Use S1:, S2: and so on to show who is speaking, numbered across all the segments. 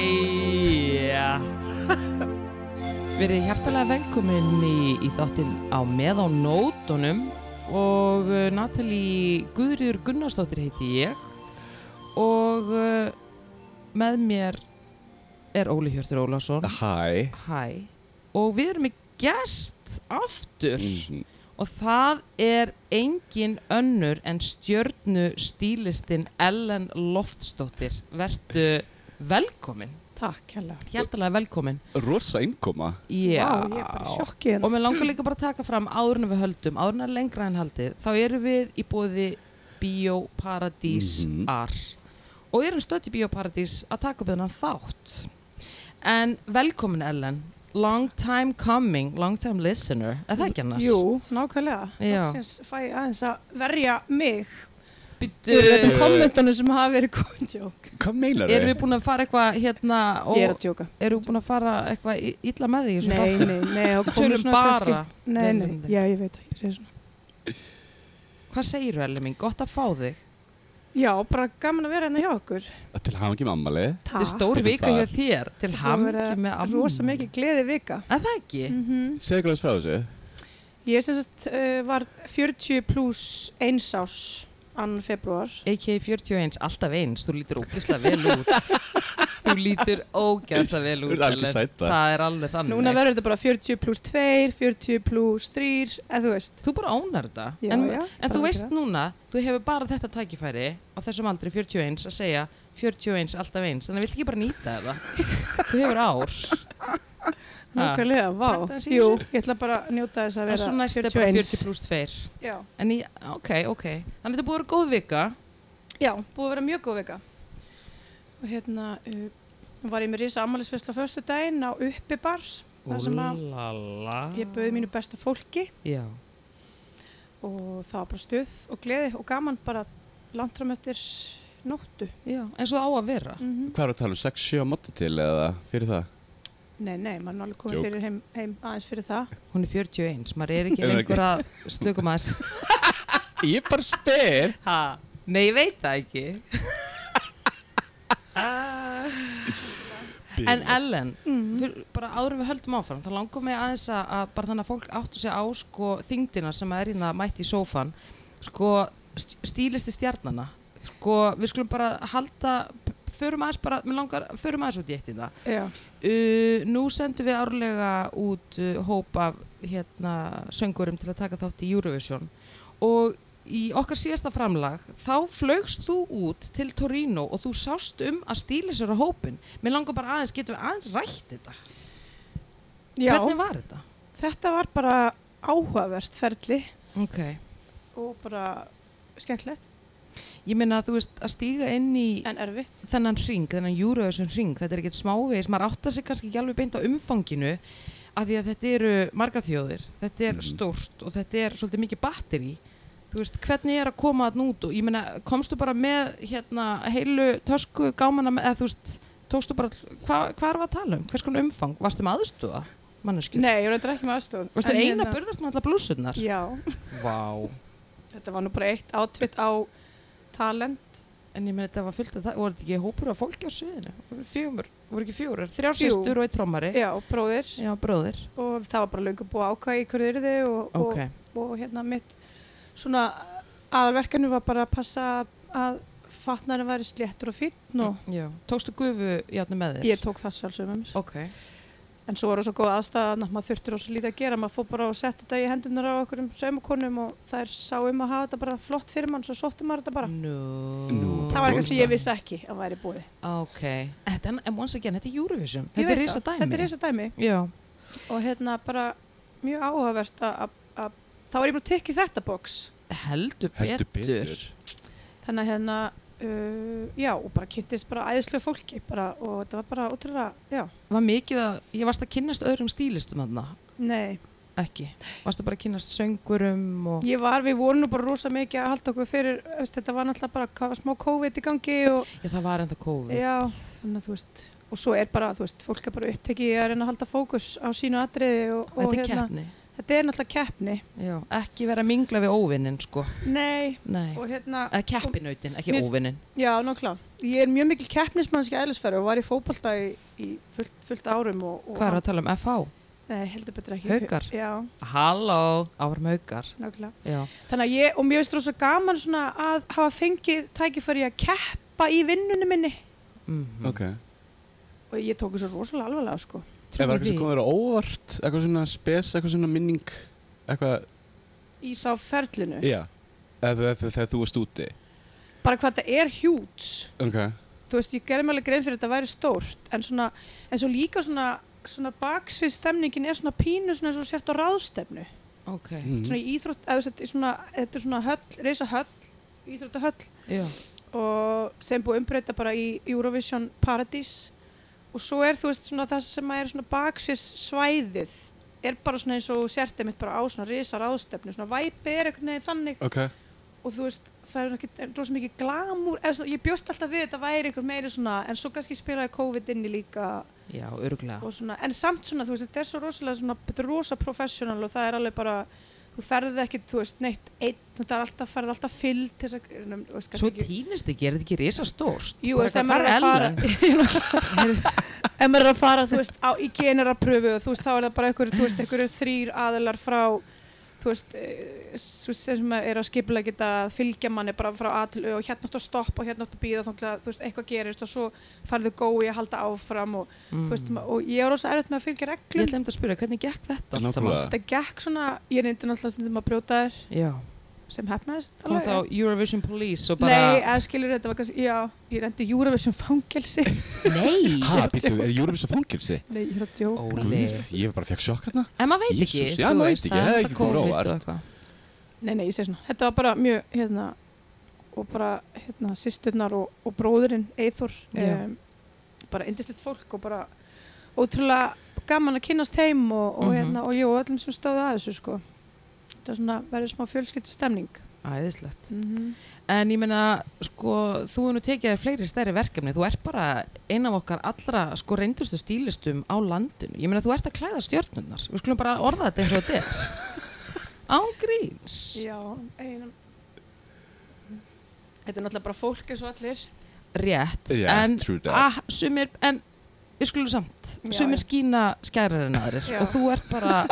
S1: Jæja
S2: Verið hjartalega velkomin í, í þáttinn á með á nótunum og uh, Natalie Guðrýður Gunnarsdóttir heiti ég og uh, með mér er Óli Hjörtur Ólason
S1: Hæ
S2: Hæ og við erum í gest aftur
S1: Mhm.
S2: og það er engin önnur en stjörnu stílistin Ellen Loftsdóttir verðu velkomin
S3: Takk hella.
S2: hjartalega velkomin
S1: Rosa innkoma
S2: Já
S3: Vá, ég er bara hérna. sjokkið.
S2: Og mér langar líka bara að taka fram áður en við höldum, áður en að lengra en haldið, þá erum við í bóði Bíóparadís
S1: Mhm.
S2: R og erum stödd í Bíóparadís að taka upp þennan þátt. En velkomin Ellen, long time coming, long time listener, er það ekki annars?
S3: Jú, nákvæmlega.
S2: Já.
S3: Loksins fæ ég aðeins að verja mig.
S2: Býttu,
S3: Þessum kommentunum sem hafa verið góðan djók.
S1: Hvað meinar
S2: erum við búin að fara eitthvað hérna
S3: Ég er að
S2: og
S3: djóka.
S2: erum við búin að fara eitthvað í- illa með því? í þessum
S3: Nei,
S2: þáttum?
S3: nei, nei. þá komur
S2: Tölum
S3: svona
S2: bara.
S3: Nei, nei,
S2: vinnandi.
S3: já, ég veit það. Ég segi svona.
S2: Hvað segirðu Ellen mín? Gott að fá þig.
S3: Já, bara gaman að vera hérna hjá okkur.
S1: Til hafa ekki mammali
S2: Þetta er stór
S1: Þetta er
S2: vika
S1: þar.
S2: hjá þér til
S3: Það er
S2: hamngi
S3: verið
S2: með amman.
S3: Rosa mikið gleði vika.
S2: Er það ekki?
S3: Mm
S1: Segðu hvað þess frá þessu
S3: Ég sem sagt uh, var 40 pluss eins ás annan februar.
S2: AK 41, alltaf eins, þú lítur ógeðslega vel út Þú lítur ógeðslega vel
S1: Þú
S2: út
S1: ert algjör
S2: Ellen.
S1: sæta.
S2: Það er alveg þannig
S3: Núna verður þetta bara 40 pluss 2, 40 pluss 3, eða þú veist.
S2: Þú bara ónar þetta
S3: Já,
S2: En,
S3: já,
S2: en
S3: bara
S2: þú
S3: að
S2: veist
S3: gera.
S2: núna, þú hefur bara þetta tækifæri á þessum aldri 41 að segja 41, alltaf eins, þannig viltu ekki bara nýta þetta Þú hefur ár Ha.
S3: Nákvæmlega, vá.
S2: Takk, það sé
S3: Jú,
S2: þessu.
S3: ég ætla bara að njóta þess að
S2: En
S3: vera
S2: svo næst er bara 40
S3: 41.
S2: pluss 2
S3: Já.
S2: En ég, ok, ok Þannig þetta er búið að vera góð vika
S3: Já, búið að vera mjög góð vika. Og hérna uh, var ég með risa ammælisfesla fyrstu daginn á uppibar þar sem að
S2: Úlala
S3: ég bauði mínu besta fólki
S2: Já,
S3: og það var bara stuð og gleði og gaman bara landram eftir nóttu.
S2: já, eins og á að vera
S1: Hvað er að tala um 6-7 á móti til eða fyrir það?
S3: Nei, nei, maður er alveg
S1: Djók.
S3: komið fyrir heim, heim aðeins fyrir það.
S2: Hún er 41, maður er ekki
S1: Er það ekki?
S2: lengur að slökum aðeins
S1: Ég bara spyr
S2: Ha? Nei, ég veit það ekki. en Ellen, fyr, bara áður en við höldum áfram, þá langar mig aðeins að, að bara þannig að fólk áttu sig á sko þyngdina sem er hérna mætt í sófan, sko st stílisti stjarnana, sko við skulum bara halda, förum aðeins bara, mér langar, förum aðeins út í eitt hérna. í það.
S3: Já,
S2: Uh, nú sendum við árlega út uh, hóp af hérna, söngurum til að taka þátt í Eurovision og í okkar síðasta framlag þá flögst þú út til Torino og þú sást um að stíla sér á hópin mér langar bara aðeins, getum við aðeins rætt þetta
S3: Já
S2: hvernig var þetta?
S3: þetta var bara áhugavert ferli
S2: ok,
S3: og bara skemmtilegt
S2: ég meina að þú veist að stíga inn í
S3: en erfitt.
S2: þennan ring, þennan Eurovision ring þetta er ekkert smávegis, maður áttar sig kannski ekki alveg beint á umfanginu af því að þetta eru marga þjóðir, þetta er
S1: Mhm.
S2: stórt og þetta er svolítið mikið batteri þú veist, hvernig er að koma að nút og ég meina, komstu bara með hérna heilu tösku gámana með, eða þú veist, tókstu bara hva, hvað er að tala um, hvers konar umfang, varstu með aðstúða manneskjur,
S3: Nei, hérna- ég var eitthvað ekki með aðstofn.
S2: varstu eina burðast með alla blússurnar
S3: Já,
S2: Vá.
S3: þetta var nú bara eitt átvitt á talent.
S2: en ég meina þetta var fullt af það, voru þetta ekki hópur af fólki á sviðinu, voru fjögur, voru ekki fjórar þrjár
S3: Jú.
S2: sýstur og eitt trommari
S3: Já, bróðir
S2: Já, bróðir.
S3: og það var bara löngu búið að ákvæða í hverju yrði og,
S2: Ok,
S3: og, og hérna mitt svona aðverkanu var bara að passa að fatnarinn væri sléttur og fínn og
S2: já. Tókstu gufu játni með þér?
S3: ég tók það sjálfsögum með mér.
S2: Ok.
S3: En svo voru svo góð aðstæðan að maður þurftir ós að lítið að gera, maður fór bara og setti þetta í hendunar á okkur um saumakonum og það er sáum að hafa þetta bara flott fyrir mann, svo sótti maður þetta
S2: Mm,
S3: bara.
S2: Nú.
S1: Nú,
S3: Það var eitthvað sem ég
S1: Flott.
S3: vissi ekki að væri búið.
S2: Ok. Þetta, en once again, þetta er Eurovision.
S3: Ég
S2: Þetta er
S3: veit
S2: risa
S3: það,
S2: dæmi.
S3: Þetta er risa dæmi.
S2: Já.
S3: og hérna bara mjög áhugavert að- að að- þá var ég bara að tekja þetta box
S2: Heldur betur.
S1: Heldur betur
S3: þannig að hérna uh, já og bara kynntist bara æðislega fólki bara, og þetta var bara ótrúlega já,
S2: Var mikið að, ég varst að kynnast öðrum stílistum þarna,
S3: nei,
S2: ekki. Varst að bara að kynnast söngurum og...
S3: ég var við vorum nú bara rosa mikið að halda okkur fyrir veist, þetta var náttúrulega bara hvað var smá COVID í gangi og
S2: Já, það var enda COVID.
S3: já, þannig að þú veist og svo er bara, þú veist, fólk er bara upptekið í að reyna að halda fókus á sínu atriði og, og
S2: Þetta
S3: hérna,
S2: er keppni.
S3: þetta er náttúrulega keppni
S2: Já, ekki vera að mingla við óvinnin, sko.
S3: nei,
S2: Nei.
S3: og hérna
S2: Eða keppinautin, ekki
S3: Mér-
S2: óvinnin.
S3: já, náttúrulega, ég er mjög mikil keppnismannski eðlisfæri og var í fótbolta í, í fullt, fullt árum og, og
S2: Hvað er að tala um FH?
S3: nei, heldur betur ekki
S2: Haukar?
S3: já,
S2: Halló. Árum haukar.
S3: nákvæmlega
S2: Já.
S3: þannig að ég, og mér finnst rosa gaman svona að hafa fengið tækifæri að keppa í vinnunni minni
S2: Mhm.
S1: Ok.
S3: og ég tók þessu rosalega alvarlega sko
S1: Ef var
S2: Trúi
S1: eitthvað
S2: því.
S1: sem komið þér á óvart, eitthvað svona spes, eitthvað svona minning, eitthvað,
S3: í sá ferlinu,
S1: já, eða þegar- þegar þú varst úti.
S3: bara hvað þetta er hjúts
S1: Ok.
S3: þú veist, ég gerði mér alveg grein fyrir að þetta væri stórt en svona, en svo líka svona svona baksvið stemningin er svona pínu svona eins og þú sért á ráðstefnu
S2: Ok.
S1: Mm.
S3: svona í íþrótt, eða þú veist, þetta er svona þetta er svona höll, reysa höll íþrótta höll
S2: Já.
S3: og sem búið að umbreyta bara í Eurovision Paradís og svo er þú veist svona það sem er svona baksvið svæðið er bara svona eins og þú sért einmitt bara á svona reysa ráðstefnu, svona væpi er einhvern veginn þannig
S1: Mm. Ok.
S3: og þú veist, það er ekki rosa mikið glamúr, eða svona, ég bjóst alltaf við þetta væri einhver meiri svona, en svo kannski spilaði COVID inni líka
S2: Já, örgulega.
S3: og svona, en samt svona, þú veist, þetta er svo rosalega svona, þetta er rosa professional og það er alveg bara þú ferðið ekkert, þú veist, neitt einn, þetta er alltaf ferðið alltaf fyll til þess að, nefn- þú veist,
S2: Svo týnist ekki, er þetta ekki risastórt?
S3: Jú,
S2: Bara
S3: veist, ef
S2: hvað
S3: maður er að fara
S2: Ellen?
S3: ef maður er að fara, þú veist, á, í genera pröfu og þú veist, þá er það bara einhverju, þú veist, einhverju þrýr aðilar frá þú veist, eh, svo sem er að skipla geta að fylgja manni bara frá að til Ö og hérna áttu að stoppa og hérna áttu að býða þannig að þú veist, eitthvað gerist og svo farðu gói að halda áfram og, þú veist, ma- og ég er rosa erfitt með að fylgja
S2: Mm. Ég
S3: reglum
S2: ætlaði um þetta að spyrja, hvernig gekk þetta allt saman?
S1: Nákvæmlega.
S3: þetta gekk svona, ég reyndi náttúrulega stundum að brjóta þér
S2: Já,
S3: sem hefnaðist
S2: kom þá Eurovision Police og
S3: Nei,
S2: bara
S3: eða skilur þetta var kannski, já, ég reyndi Eurovision fangelsi
S2: Nei,
S1: Ha, býttu, er Júrufisar fangilsi?
S3: Nei, ég er að djóka
S2: Óli
S1: Guð, ég bara fekk sjokk hérna.
S2: En maður veit ekki,
S1: Jesús, já,
S2: þú
S1: maður
S2: veist,
S1: veit ekki,
S2: það er
S1: það er
S2: alltaf
S1: ekki komið
S2: COVID
S1: óvart.
S2: og eitthvað.
S3: Nei, nei, ég segi svona, þetta var bara mjög, hérna, og bara, hérna, sýsturnar og, og bróðurinn, Eithor,
S2: Já.
S3: um, bara indislegt fólk og bara ótrúlega gaman að kynnast heim og, og
S2: Mhm.
S3: hérna, og ég og öllum sem stóðu að þessu, sko. Þetta er svona, verður smá fjölskyldu stemning.
S2: Æðislegt
S3: Mm
S2: En ég meina, sko, þú hefur nú tekið þér fleiri stærri verkefni Þú ert bara einn af okkar allra, sko, reyndustu stílistum á landinu Ég meina, þú ert að klæða stjörnurnar Við skulum bara orða þetta eins og þetta er Án gríns
S3: Já, einan. Þetta er náttúrulega bara fólk eins og allir.
S2: Rétt
S1: Já,
S2: En
S1: true that.
S2: ah, sumir, en við skulum samt
S3: Já,
S2: sumir
S3: já.
S2: skína skærar en aðrir
S3: Já.
S2: og þú ert bara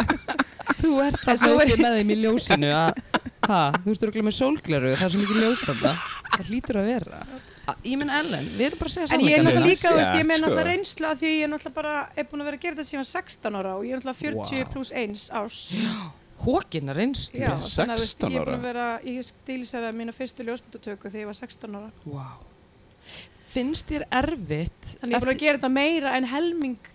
S2: þú ert
S3: En svo
S2: bara
S3: er-
S2: uppi með þeim í ljósinu að ha, þú ert örgulega með sólgleru það er svo mikið ljós þarna það hlýtur að vera A- ég menn Ellen, við erum bara að segja
S3: En ég er
S1: Sannleikann
S3: náttúrulega
S1: er
S3: líka, þú veist,
S1: hans.
S3: ég með
S1: Já,
S3: náttúrulega
S1: sko.
S3: reynslu að því ég er náttúrulega bara, er búin að vera að gera þetta síðan 16 ára og ég er náttúrulega 40
S2: Vá.
S3: pluss 1 árs.
S2: hókina reynslu
S3: Já,
S1: Byrja
S3: þannig að þú veist,
S1: 16
S3: ég er búin
S1: ára?
S3: að vera, ég stílisæði mína fyrstu ljósmyndutöku þegar ég var 16 ára.
S2: wow. finnst þér erfitt
S3: Þannig ég er búin að gera þetta meira en helming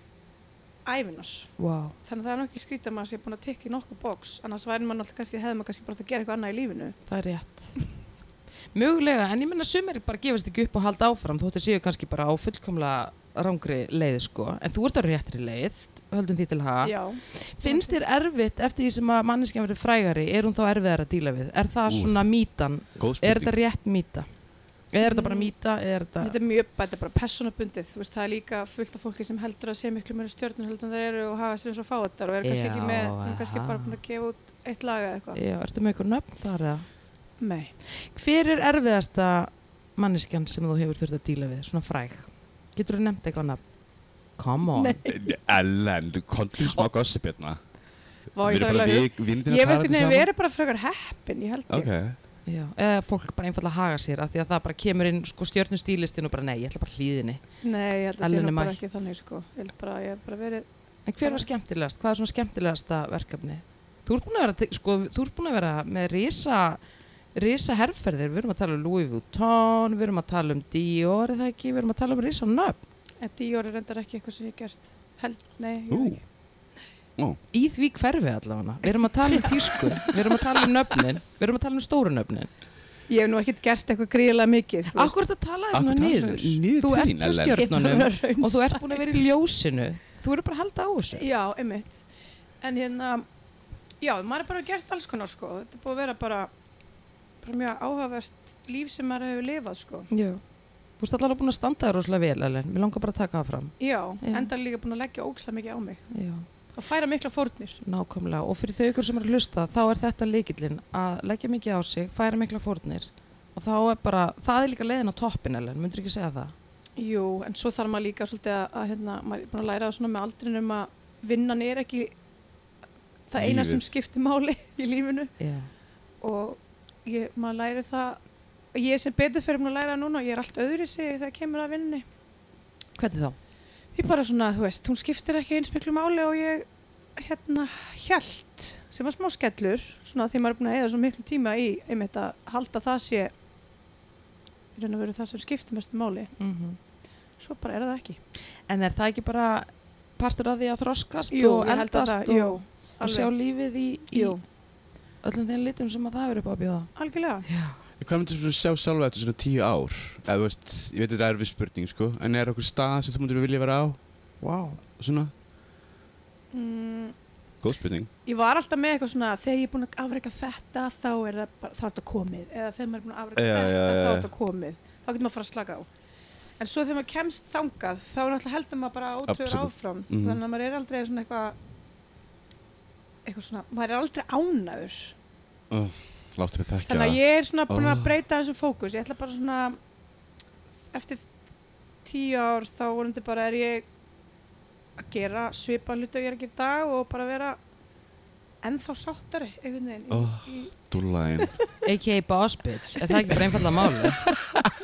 S3: æfinar.
S2: wow.
S3: Þannig að það er nú ekki skrítið að maður sé búin að tikka í nokkuð bóks, annars væri maður náttúrulega kannski, hefði maður kannski bara átt að gera eitthvað annað í lífinu.
S2: það er rétt mögulega, en ég menna sumir bara gefast ekki upp og halda áfram þóttir séu kannski bara á fullkomlega rángri leið sko, en þú ert á réttri leið höldum því til hafa
S3: Já.
S2: Finnst þér erfitt eftir því sem að manneskjan verður frægari, er hún þá erfiðar að díla við? Er það
S1: Úff.
S2: svona mítan?
S1: Góð
S2: Er þetta
S1: spurning.
S2: rétt míta? Er þetta bara
S3: Mm.
S2: míta? Er
S3: Þetta
S2: þetta...
S3: er mjög, þetta er bara personabundið, þú veist, það er líka fullt af fólki sem heldur að sé miklu meira stjörnum heldur en það eru og hafa sér eins og fáettar og er kannski
S2: Já,
S3: ekki með, hún er kannski
S2: aha.
S3: bara búin að gefa út eitt lag eða eitthvað.
S2: Já, ertu með ykkur nöfn þar eða?
S3: Nei.
S2: Hver er erfiðasta manneskjan sem þú hefur þurft að díla við, svona fræg? Getur þú nefnt eitthvað nöfn? Come on.
S3: Nei.
S1: Ellen, þú kontum smá gossip hérna.
S3: Vá,
S1: Við
S3: ég
S1: erum
S3: þarf
S1: bara
S3: eiginlega-
S1: við- vinirnir
S3: Ég hef
S1: að
S3: einhvern
S1: tala
S3: veginn
S1: saman.
S3: verið bara frekar heppin, ég held ég.
S1: Ok.
S2: Já. Eða fólk bara einfallega haga sér af því að það bara kemur inn sko stjörnustílistin og bara nei, ég ætla bara hlýðinni.
S3: Nei, ég held að sé
S2: Ellen
S3: nú
S2: er
S3: bara
S2: mætt.
S3: ekki þannig, sko. Ég held bara, ég hef bara verið,
S2: En hver var skemmtilegast? Hvað er svona skemmtilegasta verkefni? Þú ert búin að vera, te- sko, þú ert búin að vera með risa, risa herrferðir, við erum að tala um Louis Vuitton, við erum að tala um Dior, eða ekki, við erum að tala um risa nöfn.
S3: en Dior er reyndar ekki eitthvað sem ég hef gert. Held, nei, ég
S1: Ú.
S3: veit ekki.
S2: Í því hverfi allavega, við erum að tala um tísku, við erum að tala um nöfnin, við erum að tala um stóru nöfnin.
S3: Ég hef nú ekkert gert eitthvað gríðilega mikið. þú
S2: Akkur ert að tala þér svona
S1: Akkur talaðu
S2: niður?
S1: svona niður
S2: Þú
S1: til
S2: ert
S1: þín,
S2: hjá
S1: Ellen.
S3: veist. Ég er bara
S2: stjörnunum
S3: að raunsa.
S2: og þú ert búin að vera í ljósinu. Þú verður bara að halda á þessu.
S3: Já, einmitt. En hérna, já, maður er bara gert alls konar, sko. Þetta er búið að vera bara, bara mjög áhugavert líf sem maður hefur lifað, sko.
S2: Já. Þú veist allavega búin að standa þér rosalega vel, Ellen. Mér langar bara að taka það fram.
S3: já,
S2: Já.
S3: enda líka búin að leggja ógslag mikið á mig
S2: Já.
S3: og færa mikla fórnir
S2: Nákvæmlega. Og fyrir þau ykkur sem er að hlusta, þá er þetta leikillin að leggja mikið á sig, færa mikla fórnir og þá er bara, það er líka leiðin á toppin, Ellen. Myndur ekki segja það?
S3: jú, en svo þarf maður líka svolítið að, að hérna, maður er búin að læra það svona með aldrinum um að vinnan er ekki það eina
S1: Lífið.
S3: sem skiptir máli í lífinu
S2: Já.
S3: og ég, maður læri það ég er sem betur fyrir að læra það núna ég er allt öðru sig þegar kemur að vinninni
S2: Hvernig þá?
S3: ég bara svona, þú veist, hún skiptir ekki eins miklu máli og ég hérna hjælt sem var smá skellur svona því maður er búin að eða svo miklu tíma í einmitt að halda það sé í raun og veru það sem skiptir mestu máli svo bara er það ekki
S2: En er það ekki bara partur að því að þroskast og
S3: ég held að
S2: eldast
S3: það, jú,
S2: og, og sjá
S3: alveg,
S2: lífið í, í
S3: jú,
S2: öllum þeim litum sem að það er upp á að bjóða?
S3: algjörlega
S2: Já.
S1: Hvað myndir þú sjá sjálfa eftir svona tíu ár? Eða, þú veist, ég veit að þetta er erfið spurning, sko, en er okkur stað sem þú myndir vilja vera á?
S2: Vá. Wow.
S1: Svona,
S3: mm,
S1: góð spurning.
S3: ég var alltaf með eitthvað svona þegar ég er búin að afreika þetta þá er það bara, þá er þetta komið eða þegar maður er búin að afreika
S1: Já, já,
S3: þetta
S1: já,
S3: þá
S1: já.
S3: er þetta komið þá getur maður að fara að slaka á en svo þegar maður kemst þangað þá er náttúrulega heldur maður bara ótrúður
S1: Absolutt.
S3: áfram
S1: Mhm.
S3: þannig að maður er aldrei svona eitthvað eitthvað svona, maður er aldrei ánæður
S1: Láttu mig þekkja
S3: þannig að
S1: það.
S3: ég er svona búin
S1: Oh.
S3: að breyta þessu fókus ég ætla bara svona eftir tíu ár þá vonandi bara er ég að gera svipa hluti og ég er að gera í dag og bara vera ennþá sáttari einhvern veginn í-
S1: Oh.
S3: í,
S1: Dúllæn.
S2: A.k.a. boss bitch, er það ekki bara einfallega máli?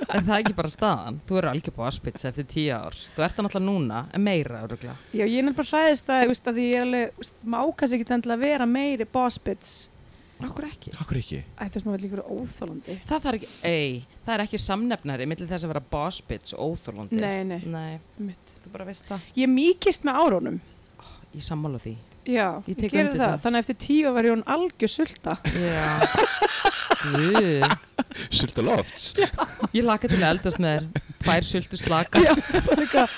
S2: er það ekki bara staðan? Þú eru algjör boss bitch eftir tíu ár. Þú ert það náttúrulega núna, en meira öruglega.
S3: Já, ég er nefnilega hræðist það, þú veist, að því ég er alveg, þú veist, má kannski ekki endilega vera meiri boss bitch.
S2: Akkur ekki.
S1: Akkur ekki?
S3: Æ, þú veist, maður vil líka vera óþólandi.
S2: Það þarf ekki, ei, það er ekki samnefnari millir þess að vera boss bitch og óþorlandi.
S3: Nei, nei,
S2: Nei,
S3: mitt.
S2: þú bara veist það.
S3: Ég mýkist með árunum.
S2: Ég sammála því.
S3: Já,
S2: Ég
S3: ég,
S2: tek
S3: gerði
S2: undir
S3: það.
S2: það.
S3: Þannig að eftir tíu var ég hún algjör sulta.
S2: Já. Guð.
S1: Sulta lofts?
S2: Ég laka til að eldast með þér. Tvær sultu slaka.
S3: Já, bara eitthvað,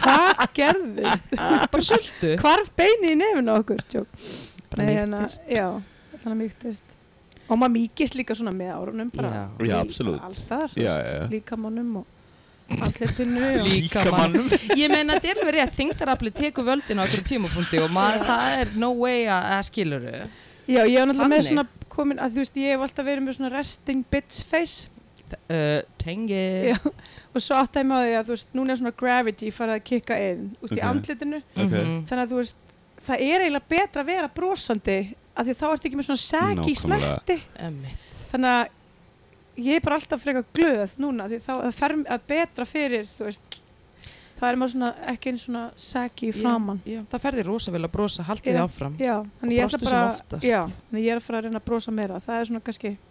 S3: hvað gerðist?
S2: Bara sultu.
S3: Hvarf beinið í nefinu á okkur, tjók. hérna,
S2: Bara mýktist.
S3: já, þannig að mýktist. Og maður mýkist líka svona með árunum, bara.
S1: Já. Já,
S3: í-
S1: absolutt.
S3: Alls staðar,
S1: Já, já, já.
S3: líkamannum og andletinu og...
S2: Líkamannum. Ég meina þetta er alveg rétt, þingdarafli tekur völdin á okkur tímapunkti og maður, það er no way að, að skiluru.
S3: Já, ég hef náttúrulega með
S2: Þannig.
S3: svona komin að þú veist, ég hef alltaf verið með svona resting bitch face
S2: Uh, tengi.
S3: Já. og svo áttaði maður því að þú veist, núna er svona gravity farið að kikka inn, þú veist,
S1: Ok.
S3: í andlitinu
S1: Ok.
S2: Mhm.
S3: þannig að þú veist, það er eiginlega betra að vera brosandi, af því þá ertu ekki með svona segi
S1: Nákvæmlega.
S3: í smetti
S2: Emmitt.
S3: þannig að ég er bara alltaf frekar glöð núna, því þá það fer að betra fyrir, þú veist þá er maður svona ekki einn svona segi í framann
S2: Já, það ferði rosa vel að brosa, haldið
S3: Já.
S2: þið áfram.
S3: Já, þannig ég ætla
S2: brostu sem
S3: bara
S2: oftast.
S3: já, þannig ég er að fara að reyna að brosa meira það er svona kannski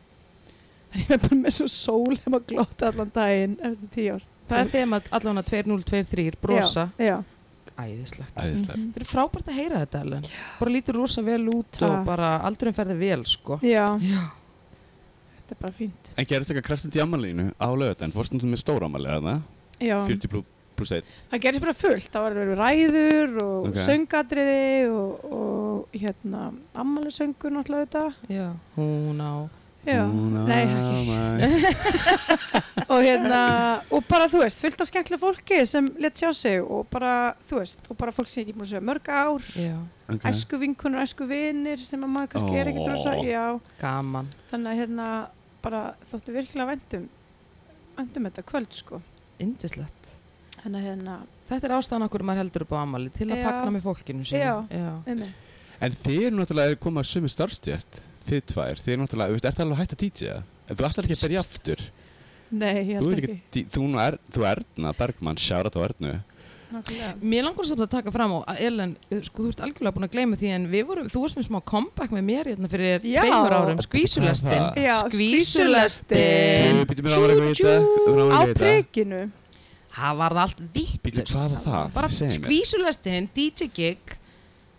S3: ég er bara með svo sól hef að glóta allan daginn eftir tíu ár
S2: Það er þeim að allavega 2023 brosa.
S3: já, Mhm.
S2: Æðislegt.
S1: Æðislega.
S2: Þetta er frábært að heyra þetta, Ellen. Bara lítur rosa vel út og
S3: Takk.
S2: bara aldrei ferði vel, sko.
S3: já,
S2: Já.
S3: þetta er bara fínt
S1: En gerðist eitthvað krafstund í ammaliðinu á lögadaginn? Fórstu þú með stóra ammalið þarna?
S3: já.
S1: 40 plú- pluss 1.
S3: það gerist bara fullt, það var verið ræður og
S1: Ok.
S3: okay. söngadriði og, og hérna ammalisöngur náttúrulega þetta
S2: Já. Hún á.
S3: já,
S1: Mm.
S3: nei, ekki
S1: ekki.
S3: og hérna, og bara þú veist, fullt af skemmtilega fólki sem let sjá sig og bara, þú veist, og bara fólk sem ég ekki múið að segja mörg ár
S2: Já.
S1: Okay.
S3: æsku vinkunur, æsku vinir sem að maður kannski er ekkert rosa
S1: Ó.
S3: já,
S2: Gaman.
S3: þannig að hérna bara þótti virkilega vendum vendum þetta kvöld sko
S2: Indislegt.
S3: þannig að hérna,
S2: Þetta er ástæðan okkur maður heldur upp á amali til að
S3: Já.
S2: fagna með fólkinu sínu.
S3: Já.
S2: Já.
S3: einmitt
S1: En þið eru náttúrulega að koma að sömu starfstjært, þið tvær, þið eru náttúrulega, veist, ertu alveg hægt að DJ-a? Þú ætlar ekki að byrja aftur.
S3: nei, ég
S1: Þú
S3: held
S1: er
S3: ekki,
S1: ekki, dí- þú, nú er, þú Erna Bergmann, sjárat á Ernu.
S3: nákvæmlega
S2: Mér langar samt að taka fram og að Ellen, uh, sko þú ert algjörlega búin að gleyma því en við vorum, þú varst með smá comeback með mér hérna fyrir
S3: Já.
S2: tveimur árum, skvísulestin.
S1: Hvað er
S3: Já,
S2: Skvísulestin.
S1: Þú
S3: En-
S1: býtum mér á að vera eitthvað í þetta, mér á að vera
S3: á
S1: eitthvað í þetta.
S3: prikinu
S2: Það var það allt
S1: Býtum,
S2: vittlust.
S1: hvað var það?
S2: Bara
S1: Segðu mér.
S2: skvísulestin, DJ gig,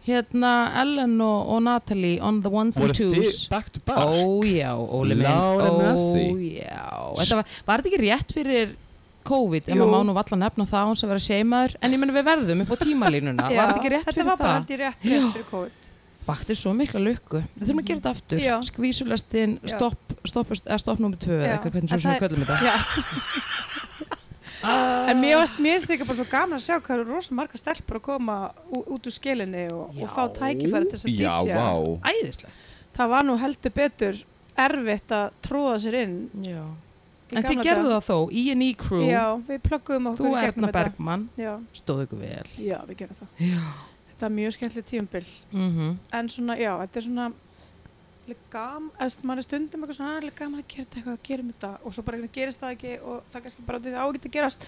S2: hérna Ellen og, og Natalie on the ones and
S1: Voru þið
S2: twos.
S1: back to back?
S2: Ó já, Óli minn,
S1: Lára
S2: ó
S1: Nassi.
S2: já. Þetta var, var þetta ekki rétt fyrir COVID, ef maður
S3: Jú.
S2: má nú valla nefna það án sem vera seimaður, en ég menn við verðum upp á tímalínuna,
S3: Já,
S2: var þetta ekki rétt
S3: þetta
S2: fyrir
S3: var bara
S2: það?
S3: held ég rétt, rétt fyrir COVID
S2: vakti svo mikla lukku við þurfum að gera þetta aftur
S3: Já.
S2: skvísulestin,
S3: Já.
S2: stopp stopp, eða stopp nummer 2
S3: Já.
S2: eða eitthvað, hvernig
S3: En
S2: svo sem
S3: það-
S2: við köllum þetta
S3: já En mér varst, mér finnst líka bara svo gaman að sjá hvað eru rosa margar stelpur að koma ú, út úr skilinni og, og fá
S2: Já.
S3: tækifæri til þess að
S1: Já,
S3: DJ.
S1: vá
S2: Æðislegt.
S3: Það var nú heldur betur erfitt að tróða sér inn.
S2: Já. En þið gerðu það þó, E&E Crew,
S3: Já, við plöggum okkur
S2: þú
S3: í
S2: Erna
S3: gegnum þetta.
S2: Bergmann,
S3: Já,
S2: stóðu ykkur vel.
S3: já, við gerum það.
S2: Já.
S3: Þetta er mjög skemmtileg tímabil.
S2: Mm
S3: en svona, já, þetta er svona alveg gaman, eða maður er stundum eitthvað svona, "Ah, alveg gaman að gera þetta eitthvað, gerum þetta og svo bara einhvern veginn gerist það ekki og það er kannski bara því það á ekki að gerast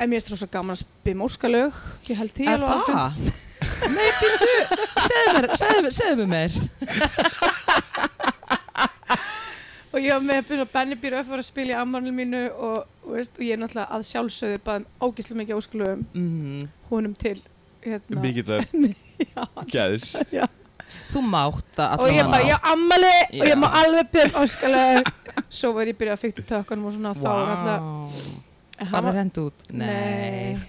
S3: en mér er þetta rosa gaman að spima óskalög ég held því
S2: Er
S3: alveg áfram.
S2: það? Nei, býttu, segðu mér, segðu mér, segðu mér meir.
S3: og ég var með byrjun og Benny býr öf var að spila í ammarnil mínu og, og, veist, og ég er náttúrulega að sjálfsögðu baðum ógislega mikið óskalögum
S2: Mm.
S3: húnum til hérna.
S1: Mikið það
S3: já,
S1: gæðis
S3: já.
S2: Þú mátt það
S3: og ég
S2: allan
S3: bara,
S2: á.
S3: já, ammali og
S2: Já.
S3: ég má alveg byrja óskalög svo var ég byrjað að fykta tökkanum og svona þá
S2: Vá.
S3: var alltaf En hann
S2: Var
S3: var-
S2: það rend út? Nei.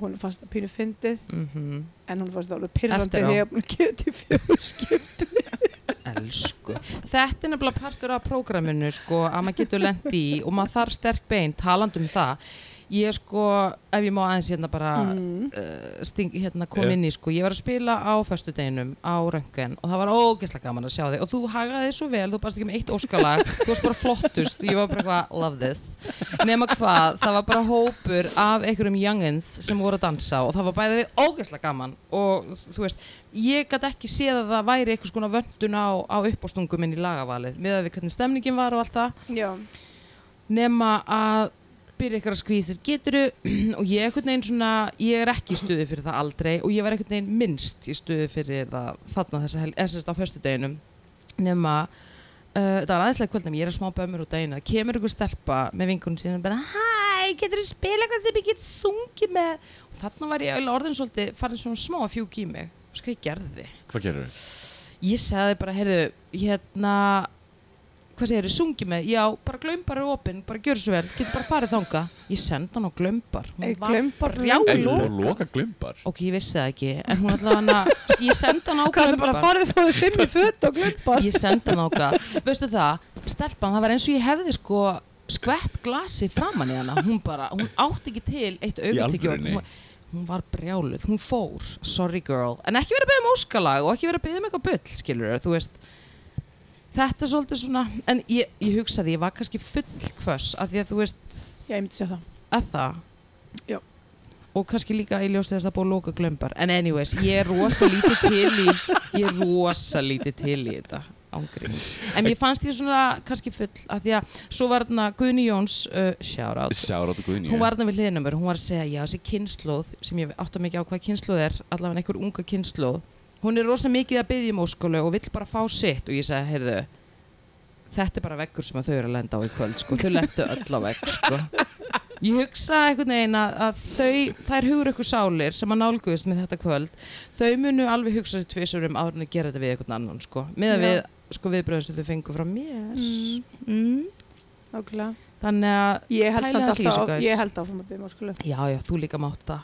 S3: Hún fannst það pínu fyndið,
S2: Mhm.
S3: en hún fannst það alveg pyrrandi
S2: Eftir á.
S3: þegar ég er búin að gera þetta í fjögur skip.
S2: Elsku. Þetta er nefnilega partur af prógraminu sko að maður getur lent í og maður þarf sterk bein taland um það. Ég sko, ef ég má aðeins hérna bara
S3: Mm.
S2: uh, sting, hérna kom
S1: Já.
S2: inn í sko, ég var að spila á föstudeginum á röngen og það var ógeðslega gaman að sjá þig og þú hagaði þig svo vel, þú barst ekki með eitt óskalag, þú varst bara flottust og ég var bara eitthvað, love this nema hvað, það var bara hópur af einhverjum youngins sem voru að dansa og það var bæðið við ógeðslega gaman og þú veist, ég gæti ekki séð að það væri eitthvað skona vöndun á, á uppástungum inn í lagavalið, með að við hvernig stemningin var og allt það
S3: Já,
S2: nema að byrja ykkur að skvísir, geturu og ég er einhvern veginn svona, ég er ekki í stuði fyrir það aldrei og ég var einhvern veginn minnst í stuði fyrir það þarna þessa helg, eða sérst á föstudeginum nema uh, það var aðeinslega kvöldum, ég er að smá bömmur út daginn það kemur ykkur stelpa með vinkunum sínum bara, hæ, getur þú spila eitthvað sem ég get sungið með og þarna var ég eiginlega orðin svolítið, farin svona smá að fjúk í mig og sko ég gerði
S1: Hvað gerur þau?
S2: ég sagði bara, heyrðu, hérna hvað segir þið, sungi með já, bara glömbar er opinn, bara gjör svo vel getur bara farið þanga, ég sendi hann á glömbar hún
S3: ég
S2: var-
S3: glembar
S2: brjáluð.
S1: Er
S2: Loka.
S1: búin að loka glömbar?
S2: ok, ég vissi það ekki, en hún allavega hann að ég sendi hann á
S3: Hvað er
S2: glömbar
S3: bara að fara þið fóðu fimm í föt og glembar?
S2: ég sendi hann á glömbar, veistu það stelpan, það var eins og ég hefði sko skvett glasi framan í hana hún bara, hún átti ekki til eitt augnatykki
S1: alvörunni?
S2: hún, hún var brjáluð, hún fór sorry girl, en ekki verið að byggja um óskalag og ekki verið að byggja um eitthvað bull, skilur þú veist þetta er svolítið svona, en ég, ég hugsaði ég var kannski full kvöss af því að þú veist,
S3: Já, ég myndi segja það.
S2: er það
S3: Já.
S2: og kannski líka í ljósið þess að búið að lóka glömbar en anyways, ég er rosa lítið til í ég er rosa lítið til í þetta ángríns, en mér fannst ég svona kannski full, af því að svo var þarna Guðni Jóns, uh, shout out
S1: Sjárat og Guðni
S2: hún var þarna við hliðina á mér, hún var að segja já, þessi kynnslóð, sem ég átta mikið á hvað kynnslóð er allavega einhver unga kynnslóð hún er rosa mikið að byggja um óskólu og vill bara fá sitt og ég sagði, heyrðu þetta er bara veggur sem að þau eru að lenda á í kvöld sko, þau lendu öll á vegg sko. ég hugsa einhvern veginn að, að þau, þær hugur ykkur sálir sem að nálguðist með þetta kvöld þau munu alveg hugsa sér tvisur um áður en að gera þetta við einhvern annan sko, með að
S3: Já.
S2: við sko viðbröðum sem þau fengu frá mér
S3: Mm.
S2: Mm.
S3: Nákvæmlega.
S2: þannig að
S3: Ég held
S2: Pælið
S3: samt
S2: aðeins í þessu,
S3: alltaf, á-
S2: guys.
S3: ég held áfram að byrja máskulega.
S2: Já, já, þú líka mátt það.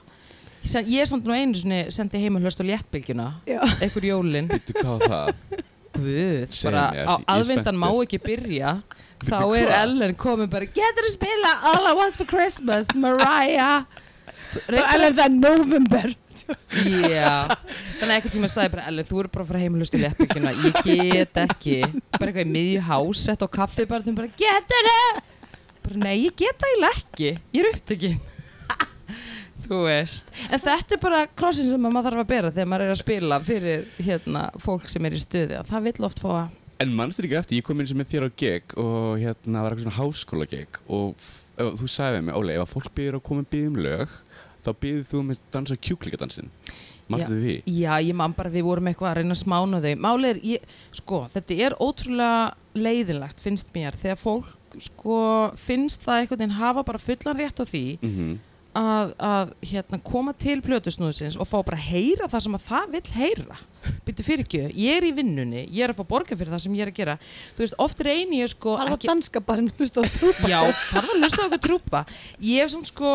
S2: Ég sen- Ég er samt nú einu sinni sendi heim og hlust á léttbylgjuna,
S3: Já.
S2: einhver jólin,
S1: Vittu hvað var það?
S2: guð,
S1: Segðu
S2: bara
S1: mér,
S2: á
S1: ég er
S2: aðvindan
S1: spenntur.
S2: má ekki byrja, þá
S1: Bíddu,
S2: er
S1: hvað?
S2: Ellen komin bara, getur þú spila All I Want For Christmas, Mariah. Svo-
S3: Bara Ellen, það er november.
S2: Já, þannig að einhvern tíma sagði ég bara Ellen, þú eru bara að fara heim og hlusta á léttbylgjuna, ég get ekki, bara eitthvað í miðju hásett og kaffi bara, bara getur þau, bara nei, ég get það eiginlega ekki, ég er upptekinn, þú veist, en þetta er bara krossin sem maður þarf að bera þegar maður er að spila fyrir hérna fólk sem er í stuði og það vill oft fá að,
S1: En mannstu ekki eftir, ég kom inn sem er þér á gig og hérna var eitthvað svona háskóla gig og f- ef- þú sagði við mig, Óli, ef að fólk byrður að koma að biðja um lög þá byrður þú um að dansa kjúklingadansinn Mannstu því?
S2: já, ég man bara við vorum eitthvað að reyna að smána þau, máli er, ég, sko, þetta er ótrúlega leiðinlegt finnst mér þegar fólk sko finnst það einhvern veginn hafa bara fullan rétt á því
S1: Mm
S2: að, að hérna, koma til plötusnúðsins og fá bara að heyra það sem að það vill heyra byrju fyrir ekki, ég er í vinnunni ég er að fá borga fyrir það sem ég er að gera þú veist, oft reyni ég sko
S3: Það var
S2: ekki,
S3: danska barn, hlustu á trúpa.
S2: já, farða að lusta á okkur trúpa ég hef sem sko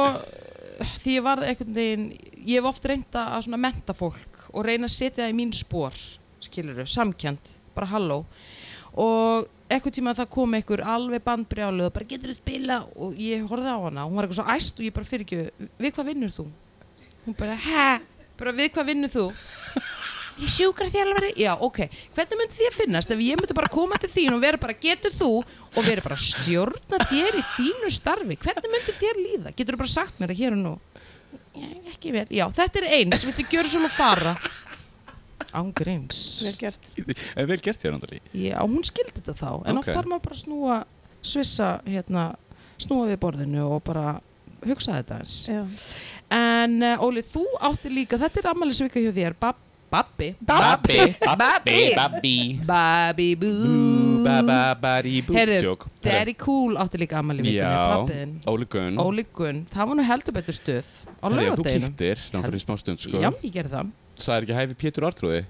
S2: því ég var einhvern veginn ég hef oft reynda að svona menta fólk og reyna að setja það í mín spór skilur samkjönd, bara halló og eitthvað tíma það kom einhver alveg bandbrjálu og bara getur þú spila og ég horfði á hana, hún var eitthvað svo æst og ég bara fyrir ekki, við hvað vinnur þú? Hún bara, hæ? Bara við hvað vinnur þú? Ég sjúkra þjálfari, já ok, hvernig myndi þér finnast ef ég myndi bara koma til þín og vera bara getur þú og vera bara stjórna þér í þínu starfi, hvernig myndi þér líða? Getur þú bara sagt mér það hér og nú? Já, ekki vel, já, þetta er eins, viltu gjöra svona fara? Ángreins.
S3: vel gert
S1: En vel gert þér, Andali.
S2: Já, hún skildi þetta þá en
S1: Ok.
S2: oft þarf maður bara að snúa svissa, hérna, snúa við borðinu og bara hugsa þetta eins
S3: já.
S2: En uh, Óli, þú átti líka þetta er ammælisvika hjá þér Bab Babbi
S1: Babbi, babbi, babbi.
S2: Babbi bú
S1: Bú, ba, ba, ba, rí, bú.
S2: Heyrðu,
S1: Jók.
S2: Daddy Cool átti líka ammælisvika með
S1: Já,
S2: pappiðin
S1: Óli Gunn.
S2: Óli Gunn, það var nú heldur betur stöð á
S1: Heyrðu, Þú
S2: laugardeginum
S1: kýttir, náttúrulega í smá stund, sko.
S2: Já, ég gerði það
S1: Það er ekki hæfi Pétur Artrúði.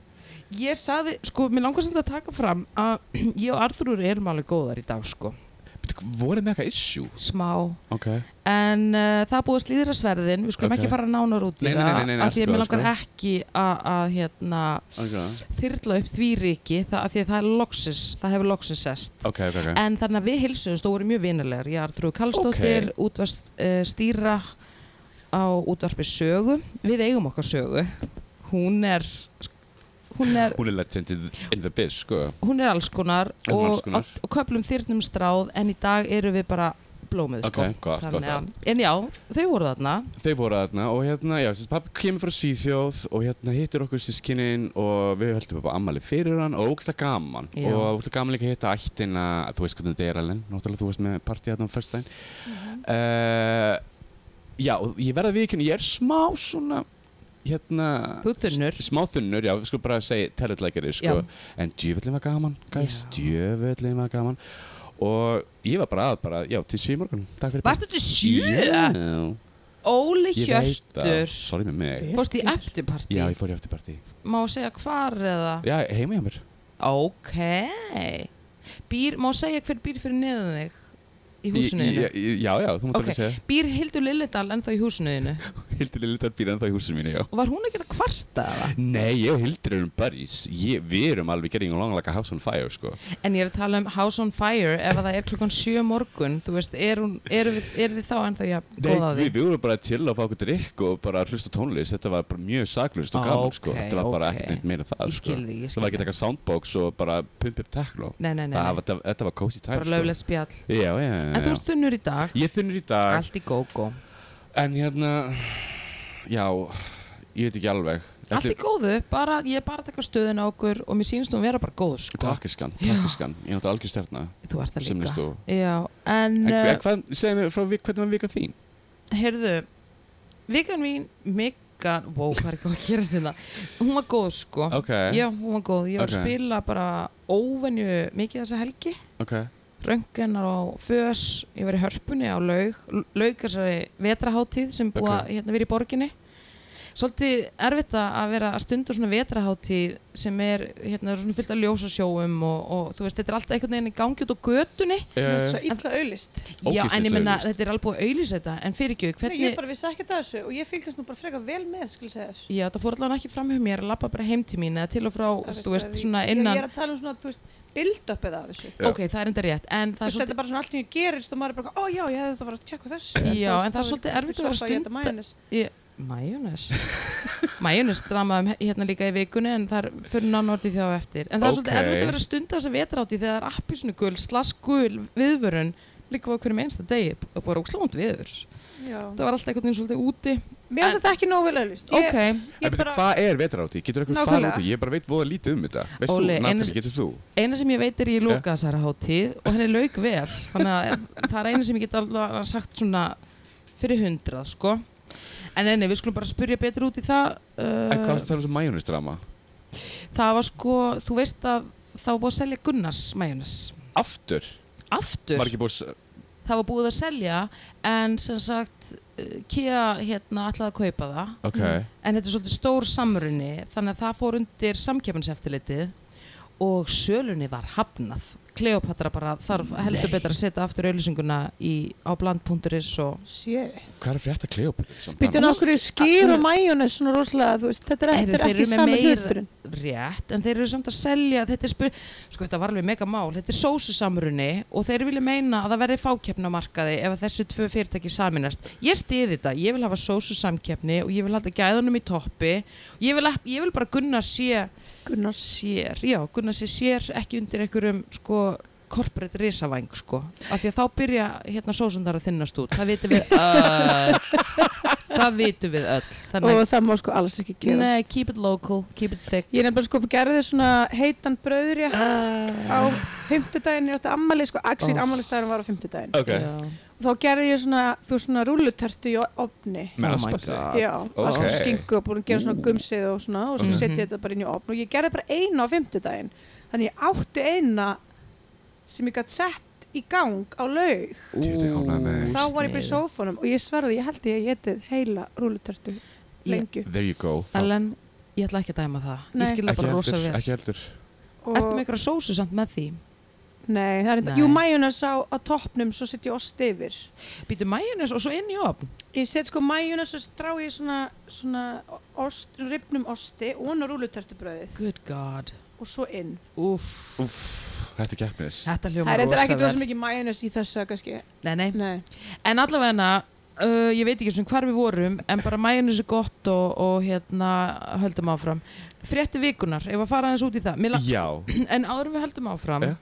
S2: Ég sagði, sko, mér langar sem þetta að taka fram að ég og Arþrúr erum alveg góðar í dag, sko
S1: Bíddu, Voru með eitthvað issue?
S2: Smá
S1: Ok.
S2: En uh, það er búið að slíðra sverðin, við skulum
S1: Ok.
S2: ekki fara nánar út í
S1: Nei, nei, nei, nei, nei,
S2: af því
S1: allt
S2: að mér
S1: góð,
S2: langar
S1: sko.
S2: ekki að, að hérna,
S1: Ok,
S2: þyrla upp því ríki, það, af því að það er loksis, það hefur loksis sest.
S1: ok, ok. ok.
S2: En þannig að við hilsuðumst og vorum mjög vinalegar, ég er Artrúi Kallstóttir, okay. útvast uh, stýra á útvarpi sögu, við eigum okkar sögu, hún er, hún er,
S1: Hún er legend in the- in the biz, sko.
S2: hún er alls konar
S1: Hún er alls
S2: og,
S1: konar.
S2: og köplum þyrnum stráð en í dag eru við bara blómið
S1: Ok,
S2: sko.
S1: gott, gott,
S2: Þannig að- En já, þau voru þarna.
S1: Þeir voru þarna og hérna, já, þessi pappi kemur frá Svíþjóð og hérna hittir okkur sískininn og við höldum upp á ammali fyrir hann og ógæslega gaman
S2: Já.
S1: og ógæslega gaman líka að hitta ættina, þú veist hvernig þetta er alveg, náttúrulega þú veist með partíð hérna á fyrstæn.
S2: Mhm.
S1: Mm já, og ég verða að viðkynna, ég er smá svona, hérna...
S2: Þú ert þunnur.
S1: s- Smá þunnur, já, við skulum bara segja territleikari, sko,
S2: Já.
S1: en djöfullin var gaman, guys,
S2: Já.
S1: djöfullin var gaman og ég var bara að, bara, já, til sjö í morgun, takk fyrir
S2: Varstu til sjö?
S1: Já.
S2: Óli
S1: Ég veit það,
S2: Hjörtur
S1: sorry með mig
S2: Fórst í eftirparti
S1: Já, ég fór í afturparti
S2: Má segja hvar eða
S1: Já, heima hjá mér
S2: Ok Býr, má segja hver býr fyrir neðan þig Í húsinu
S1: Í-
S2: þínu
S1: í- í- Já, já, þú mátt
S2: Ok.
S1: alveg segja
S2: Býr Hildur Lilledal ennþá í húsinu þínu
S1: Hildur er litar býr ennþá í húsinu mínu, já
S2: Og var hún ekki að kvarta eða?
S1: Nei, ég og Hildur erum buddies ég, Við erum alveg getting along like a house on fire, sko
S2: En ég er að tala um House on Fire Ef að það er klukkan sjö morgun Þú veist, er, hún, er, við, er við þá ennþá ja,
S1: Nei,
S2: góða
S1: við,
S2: því
S1: við vorum bara til að fá okkur drikk og bara að hlusta á tónlist Þetta var bara mjög saklust og
S2: Ó,
S1: gaman, sko
S2: ókei,
S1: Þetta var bara
S2: ókei.
S1: ekkert neitt meira það,
S2: Ég
S1: sko
S2: skil því, ég
S1: Það
S2: skil
S1: var ekki
S2: því
S1: taka soundbox og bara pump upp tekno
S2: Nei, nei, nei,
S1: Það
S2: nei.
S1: var- Þetta þetta var cozy time,
S2: bara
S1: sko
S2: löflega spjall
S1: Já, já, já,
S2: En þú
S1: já.
S2: ert þunnur í dag
S1: Ég þunnur í dag
S2: Allt í gógó
S1: En hérna, já, ég veit ekki alveg
S2: Allt í góðu, bara, ég er bara að taka stöðun á okkur og mér sýnst nú að vera bara góð sko.
S1: Takkiskan, takkiskan, ég er náttúrulega algjör stjarna
S2: Þú ert það
S1: sem
S2: líka
S1: nýst þú
S2: Já, en, uh,
S1: En, en
S2: en
S1: hvað, segðu mér frá vi- hvernig var vikan þín?
S2: heyrðu vikan mín, mikan wow, hvað er ekki að gerast þetta hún var góð sko
S1: Ok,
S2: Já, hún var góð, ég var
S1: Ok.
S2: að spila bara óvenju mikið þessa helgi
S1: ok,
S2: röngenar á fös ég var í hörpunni á laug laug þessari vetrahátíð sem búið
S1: Ok.
S2: að hérna, vera í borginni svolítið erfitt að- að vera að stunda svona vetrahátíð sem er hérna, svona fullt af ljósasjóum og, og þú veist, þetta er alltaf einhvern veginn í gangi út á götunni
S3: það er
S1: uh,
S3: svo illa auðlist
S2: Já,
S1: Ógeðslegt
S2: en ég menna,
S1: auglýst.
S2: þetta er alveg búið að auðlýsa þetta en fyrir ekki,
S3: Nei, ég
S2: hvernig
S3: bara vissi ekkert að þessu og ég fylgjast nú bara frekar vel með, skil segja þess.
S2: Já, það fór allavega ekki fram hjá mér að lappa bara heim til mín eða til og frá,
S3: Það
S2: þú veist,
S3: bara,
S2: svona
S3: ég-
S2: innan
S3: Ég er að tala um svona, þú veist, build-upið af þessu.
S1: Já.
S2: Ok, það er enda rétt, en
S3: Þú
S2: það er
S3: veist, þetta er
S2: svolítið
S3: bara svona allt í nýju gerist og maður er bara, ó já, ég hefði þetta bara að tjekka á þessu.
S2: Já,
S3: þú veist,
S2: en það er svolítið erfitt að vera
S3: Svo ég
S2: stunda-
S3: þetta mænis.
S2: Majónes Majónes dramaðum hérna líka í vikunni en það er fyrir nánort í því á eftir En það er svolítið
S1: Ókei.
S2: erfitt að vera að stunda þessa vetraáti þegar það er appisnugul, slaskul, viðvörun líka á hverjum einsta degi og bara óslánt viður
S3: Já.
S2: Það var alltaf einhvern veginn svolítið úti
S3: Mér finnst
S2: En-
S3: þetta ekki nógu vel auðlist.
S2: Ok,
S1: En betur, hvað er vetraráti? Getur eitthvað
S3: Nákvæmlega.
S1: fara úti? Ég bara veit voða lítið um þetta Veist
S2: Óli,
S1: þú, Natalie,
S2: einu-
S1: getur þú?
S2: eina sem ég veit er ég loka þessara hátíð og henni lauk vel þannig að það er eina sem ég get allavega sagt svona fyrir hundrað sko En enni, við skulum bara spyrja betur út í það
S1: En
S2: uh,
S1: hvað er það um þessu majónistrama?
S2: Það var sko, þú veist að þá var búið að selja Gunnars Majónes
S1: Aftur?
S2: Aftur?
S1: Var ekki búið að s-
S2: það var búið að selja en sem sagt uh, Kia hérna ætlaði að kaupa það
S1: Ok,
S2: en þetta er svolítið stór samrunni þannig að það fór undir samkeppniseftirlitið og sölunni var hafnað Kleopatra bara þarf heldur betur að setja aftur auðlýsinguna í, á bland.is og
S3: Shit.
S1: hvað er að frétta Kleopatra? samt
S3: Býtu
S1: annars?
S3: nokkur í skýr og mæjónis svona rosalega, þú veist, þetta er
S2: Heyrðu,
S3: þetta er
S2: þeir
S3: ekki
S2: eru með
S3: sami
S2: meira-
S3: hluturinn.
S2: rétt en þeir eru samt að selja þetta er spur, sko þetta var alveg mega mál þetta er sósusamrunni og þeir vilja meina að það verði fákeppni á markaði ef að þessi tvö fyrirtæki saminast ég stiði þetta, ég vil hafa sósusamkeppni og ég vil halda gæðunum í toppi ég vil, ég vil bara gunna sé
S3: Gunnars
S2: sér, já, gunna sé sér ekki undir einhverjum sko corporate risavæng sko af því að þá byrja hérna sósundar að þinnast út það vitum við öll það vitum við öll þannig
S3: og það má sko alls ekki
S2: að
S3: gera
S2: nei, keep it local, keep it thick
S3: ég nefnilega sko gerði svona heitan bröðrétt á fymtudaginn ég átti ammali sko, actually
S2: Oh.
S3: Ah. oh. ammaliðstæðurinn var á fymtudaginn
S1: Ok,
S3: og þá gerði ég svona, þú veist, svona rúllutertu í opni
S2: Oh
S1: með
S2: my
S1: asparti.
S2: God.
S3: Já,
S1: ok.
S3: okay. svona skingu og búin að gera svona
S1: Ú.
S3: gumsið og svona og svo
S2: Mhm.
S3: setja ég þetta bara inn í opn og ég gerði bara eina á fymtudaginn þannig ég átti eina sem ég gætt sett í gang á laug
S1: Djöfull, ég ánægður með þig.
S3: þá var ég bara í sófanum og ég sverði, ég held ég að ég getið heila rúlutörtu lengju
S1: There you go. Þá-
S2: Ellen, ég ætla ekki að dæma það
S3: Nei.
S2: ég skil það
S1: ekki
S2: bara rosa
S1: heldur,
S2: vel
S1: ekki heldur.
S3: og,
S2: ertu með einhverja sósu samt með því
S3: Nei, það er enda,
S2: Nei.
S3: jú majónes á, á toppnum svo setjum ég ost yfir
S2: býtu majónes og svo inn í opn
S3: Ég set sko majónes og strá ég svona, svona ost, ribnum osti og hann á rúlutörtubröðið
S2: good god
S3: og svo inn
S2: Úff,
S1: Úff, þetta er keppnis.
S2: þetta
S3: Það
S2: hljómar
S3: er
S2: rosa
S3: ekkert rosa
S2: vel
S3: mikið majónes í þessu kannski,
S2: nei, nei.
S3: nei
S2: En allavega, uh, ég veit ekki svona hvar við vorum, en bara mæjunus er gott og, og hérna, höldum áfram. Frétti vikunar, ef að fara aðeins út í það. Mér la-
S1: Já,
S2: En áður en við höldum áfram,
S1: Ja.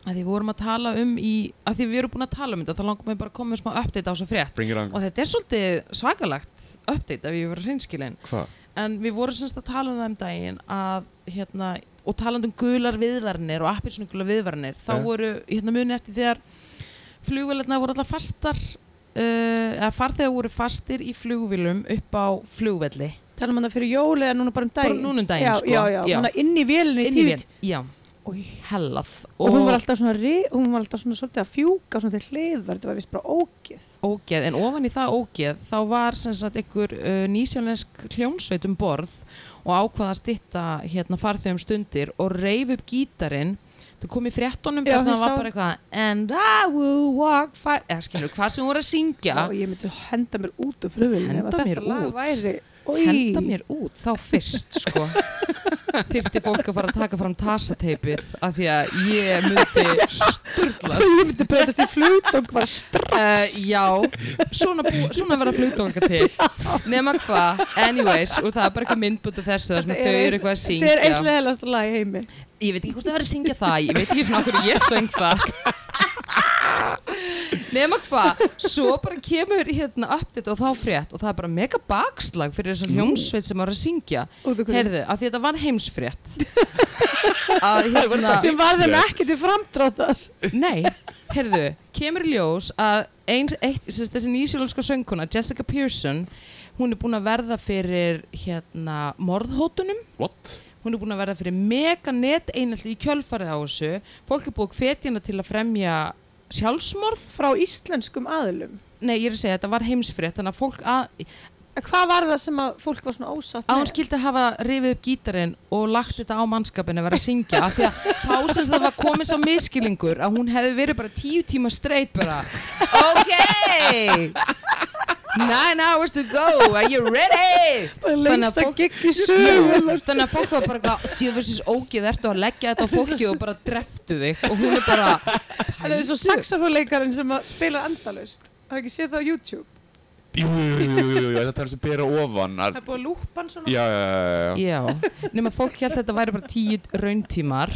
S2: að því við vorum að tala um í, að því við erum búin að tala um þetta, þá langum við bara að koma með smá update á þessa frétt.
S1: bring it on.
S2: Og þetta er svolítið svakalagt update ef ég verið hreinskilin.
S1: Hvað?
S2: En við vorum semst að tala um það um daginn að, hérna, og talandi um gular viðvarnir og appilsnugula viðvarnir, þá
S1: Ja.
S2: voru, hérna muni eftir þegar flugvélarna voru alltaf fastar, uh, eða farþegar voru fastir í flugvélum upp á flugvelli.
S3: Talum hann það um fyrir jól eða núna bara um daginn?
S2: Bara núna um daginn,
S3: já,
S2: sko.
S3: Já, já,
S2: Já.
S3: já. inn í vélinu í
S2: Inn í
S3: tíu
S2: vél. Já,
S3: Oj.
S2: hellað.
S3: Og, hún var alltaf svona, ri, hún var alltaf svona svolítið að fjúka svona til hliðar, þetta var vist bara ógeð.
S2: ógeð, en ofan í það ógeð þá var sem sagt einhver uh, nýsjálensk hljónsveit um borð og ákvaða að stitta hérna farþegum stundir og reif upp gítarinn það kom í fréttonum
S3: Já,
S2: þess að
S3: ég
S2: það var
S3: sá.
S2: bara eitthvað and I will walk five eða skilur, hvað sem hún var að syngja
S3: Og ég myndi henda mér út úr flugvélinu.
S2: Henda mér út?
S3: Þetta lag væri, oi.
S2: henda mér út þá fyrst sko þyrfti fólk að fara að taka fram tasateipið af því að ég myndi sturglast
S3: Ég myndi breytast í flut og bara strax.
S2: Uh, já, svona, bú, svona verða flugdóka til nema hvað, anyways og það er bara eitthvað myndbúti þessu þar sem
S3: Þetta
S2: þau
S3: er-
S2: eru eitthvað að
S3: Þetta
S2: syngja
S3: er eitthvað heilast lag í heimi.
S2: ég veit ekki hvort það verður að syngja það ég veit ekki svona okkur ég söng það nema hvað svo bara kemur hérna update og þá frétt og það er bara mega bakslag fyrir þessan hjómsveit sem var að syngja
S3: Út úr hverju?
S2: heyrðu, af því þetta var heimsfrétt að hérna
S3: Sem var þeim ekki til framdráttar.
S2: Nei, heyrðu, kemur í ljós að eins, eitt, sem sagt, þessi nýsjálfska sönguna, Jessica Pearson, hún er búin að verða fyrir hérna morðhótunum,
S1: What?
S2: hún er búin að verða fyrir mega net einaldi í kjölfarið á þessu, fólk er búið að hvetja hana til að fremja sjálfsmorð,
S3: Frá íslenskum aðlum.
S2: nei ég er að segja þetta var heimsfrétt, þannig að fólk að,
S3: En hvað var það sem að fólk var svona ósatt
S2: að hún skildi hafa rifið upp gítarinn og lagt þetta á mannskapinu að vera að syngja af því að þá sem það var komin sá miskilingur að hún hefði verið bara tíu tíma straight bara ok nine hours to go are you ready
S3: Bara
S2: Þannig að
S3: lengst að
S2: fólk-
S3: geggi
S2: Já,
S3: sögur.
S2: þannig að fólk var bara eitthvað djöfisins ógið ertu að leggja þetta á fólki og bara dreftu þig og hún er bara
S3: Það er svo saxofónleikarinn sem að spila endalaust. Það er ekki séð það á YouTube.
S1: Jú, jú, jú, jú, jú, jú, þetta er sem bera ofan.
S3: Það
S1: að-
S3: er búið að lúpa hann svona.
S1: Já, já, já, já, já.
S2: Já, nema fólk held að þetta væri bara tíu rauntímar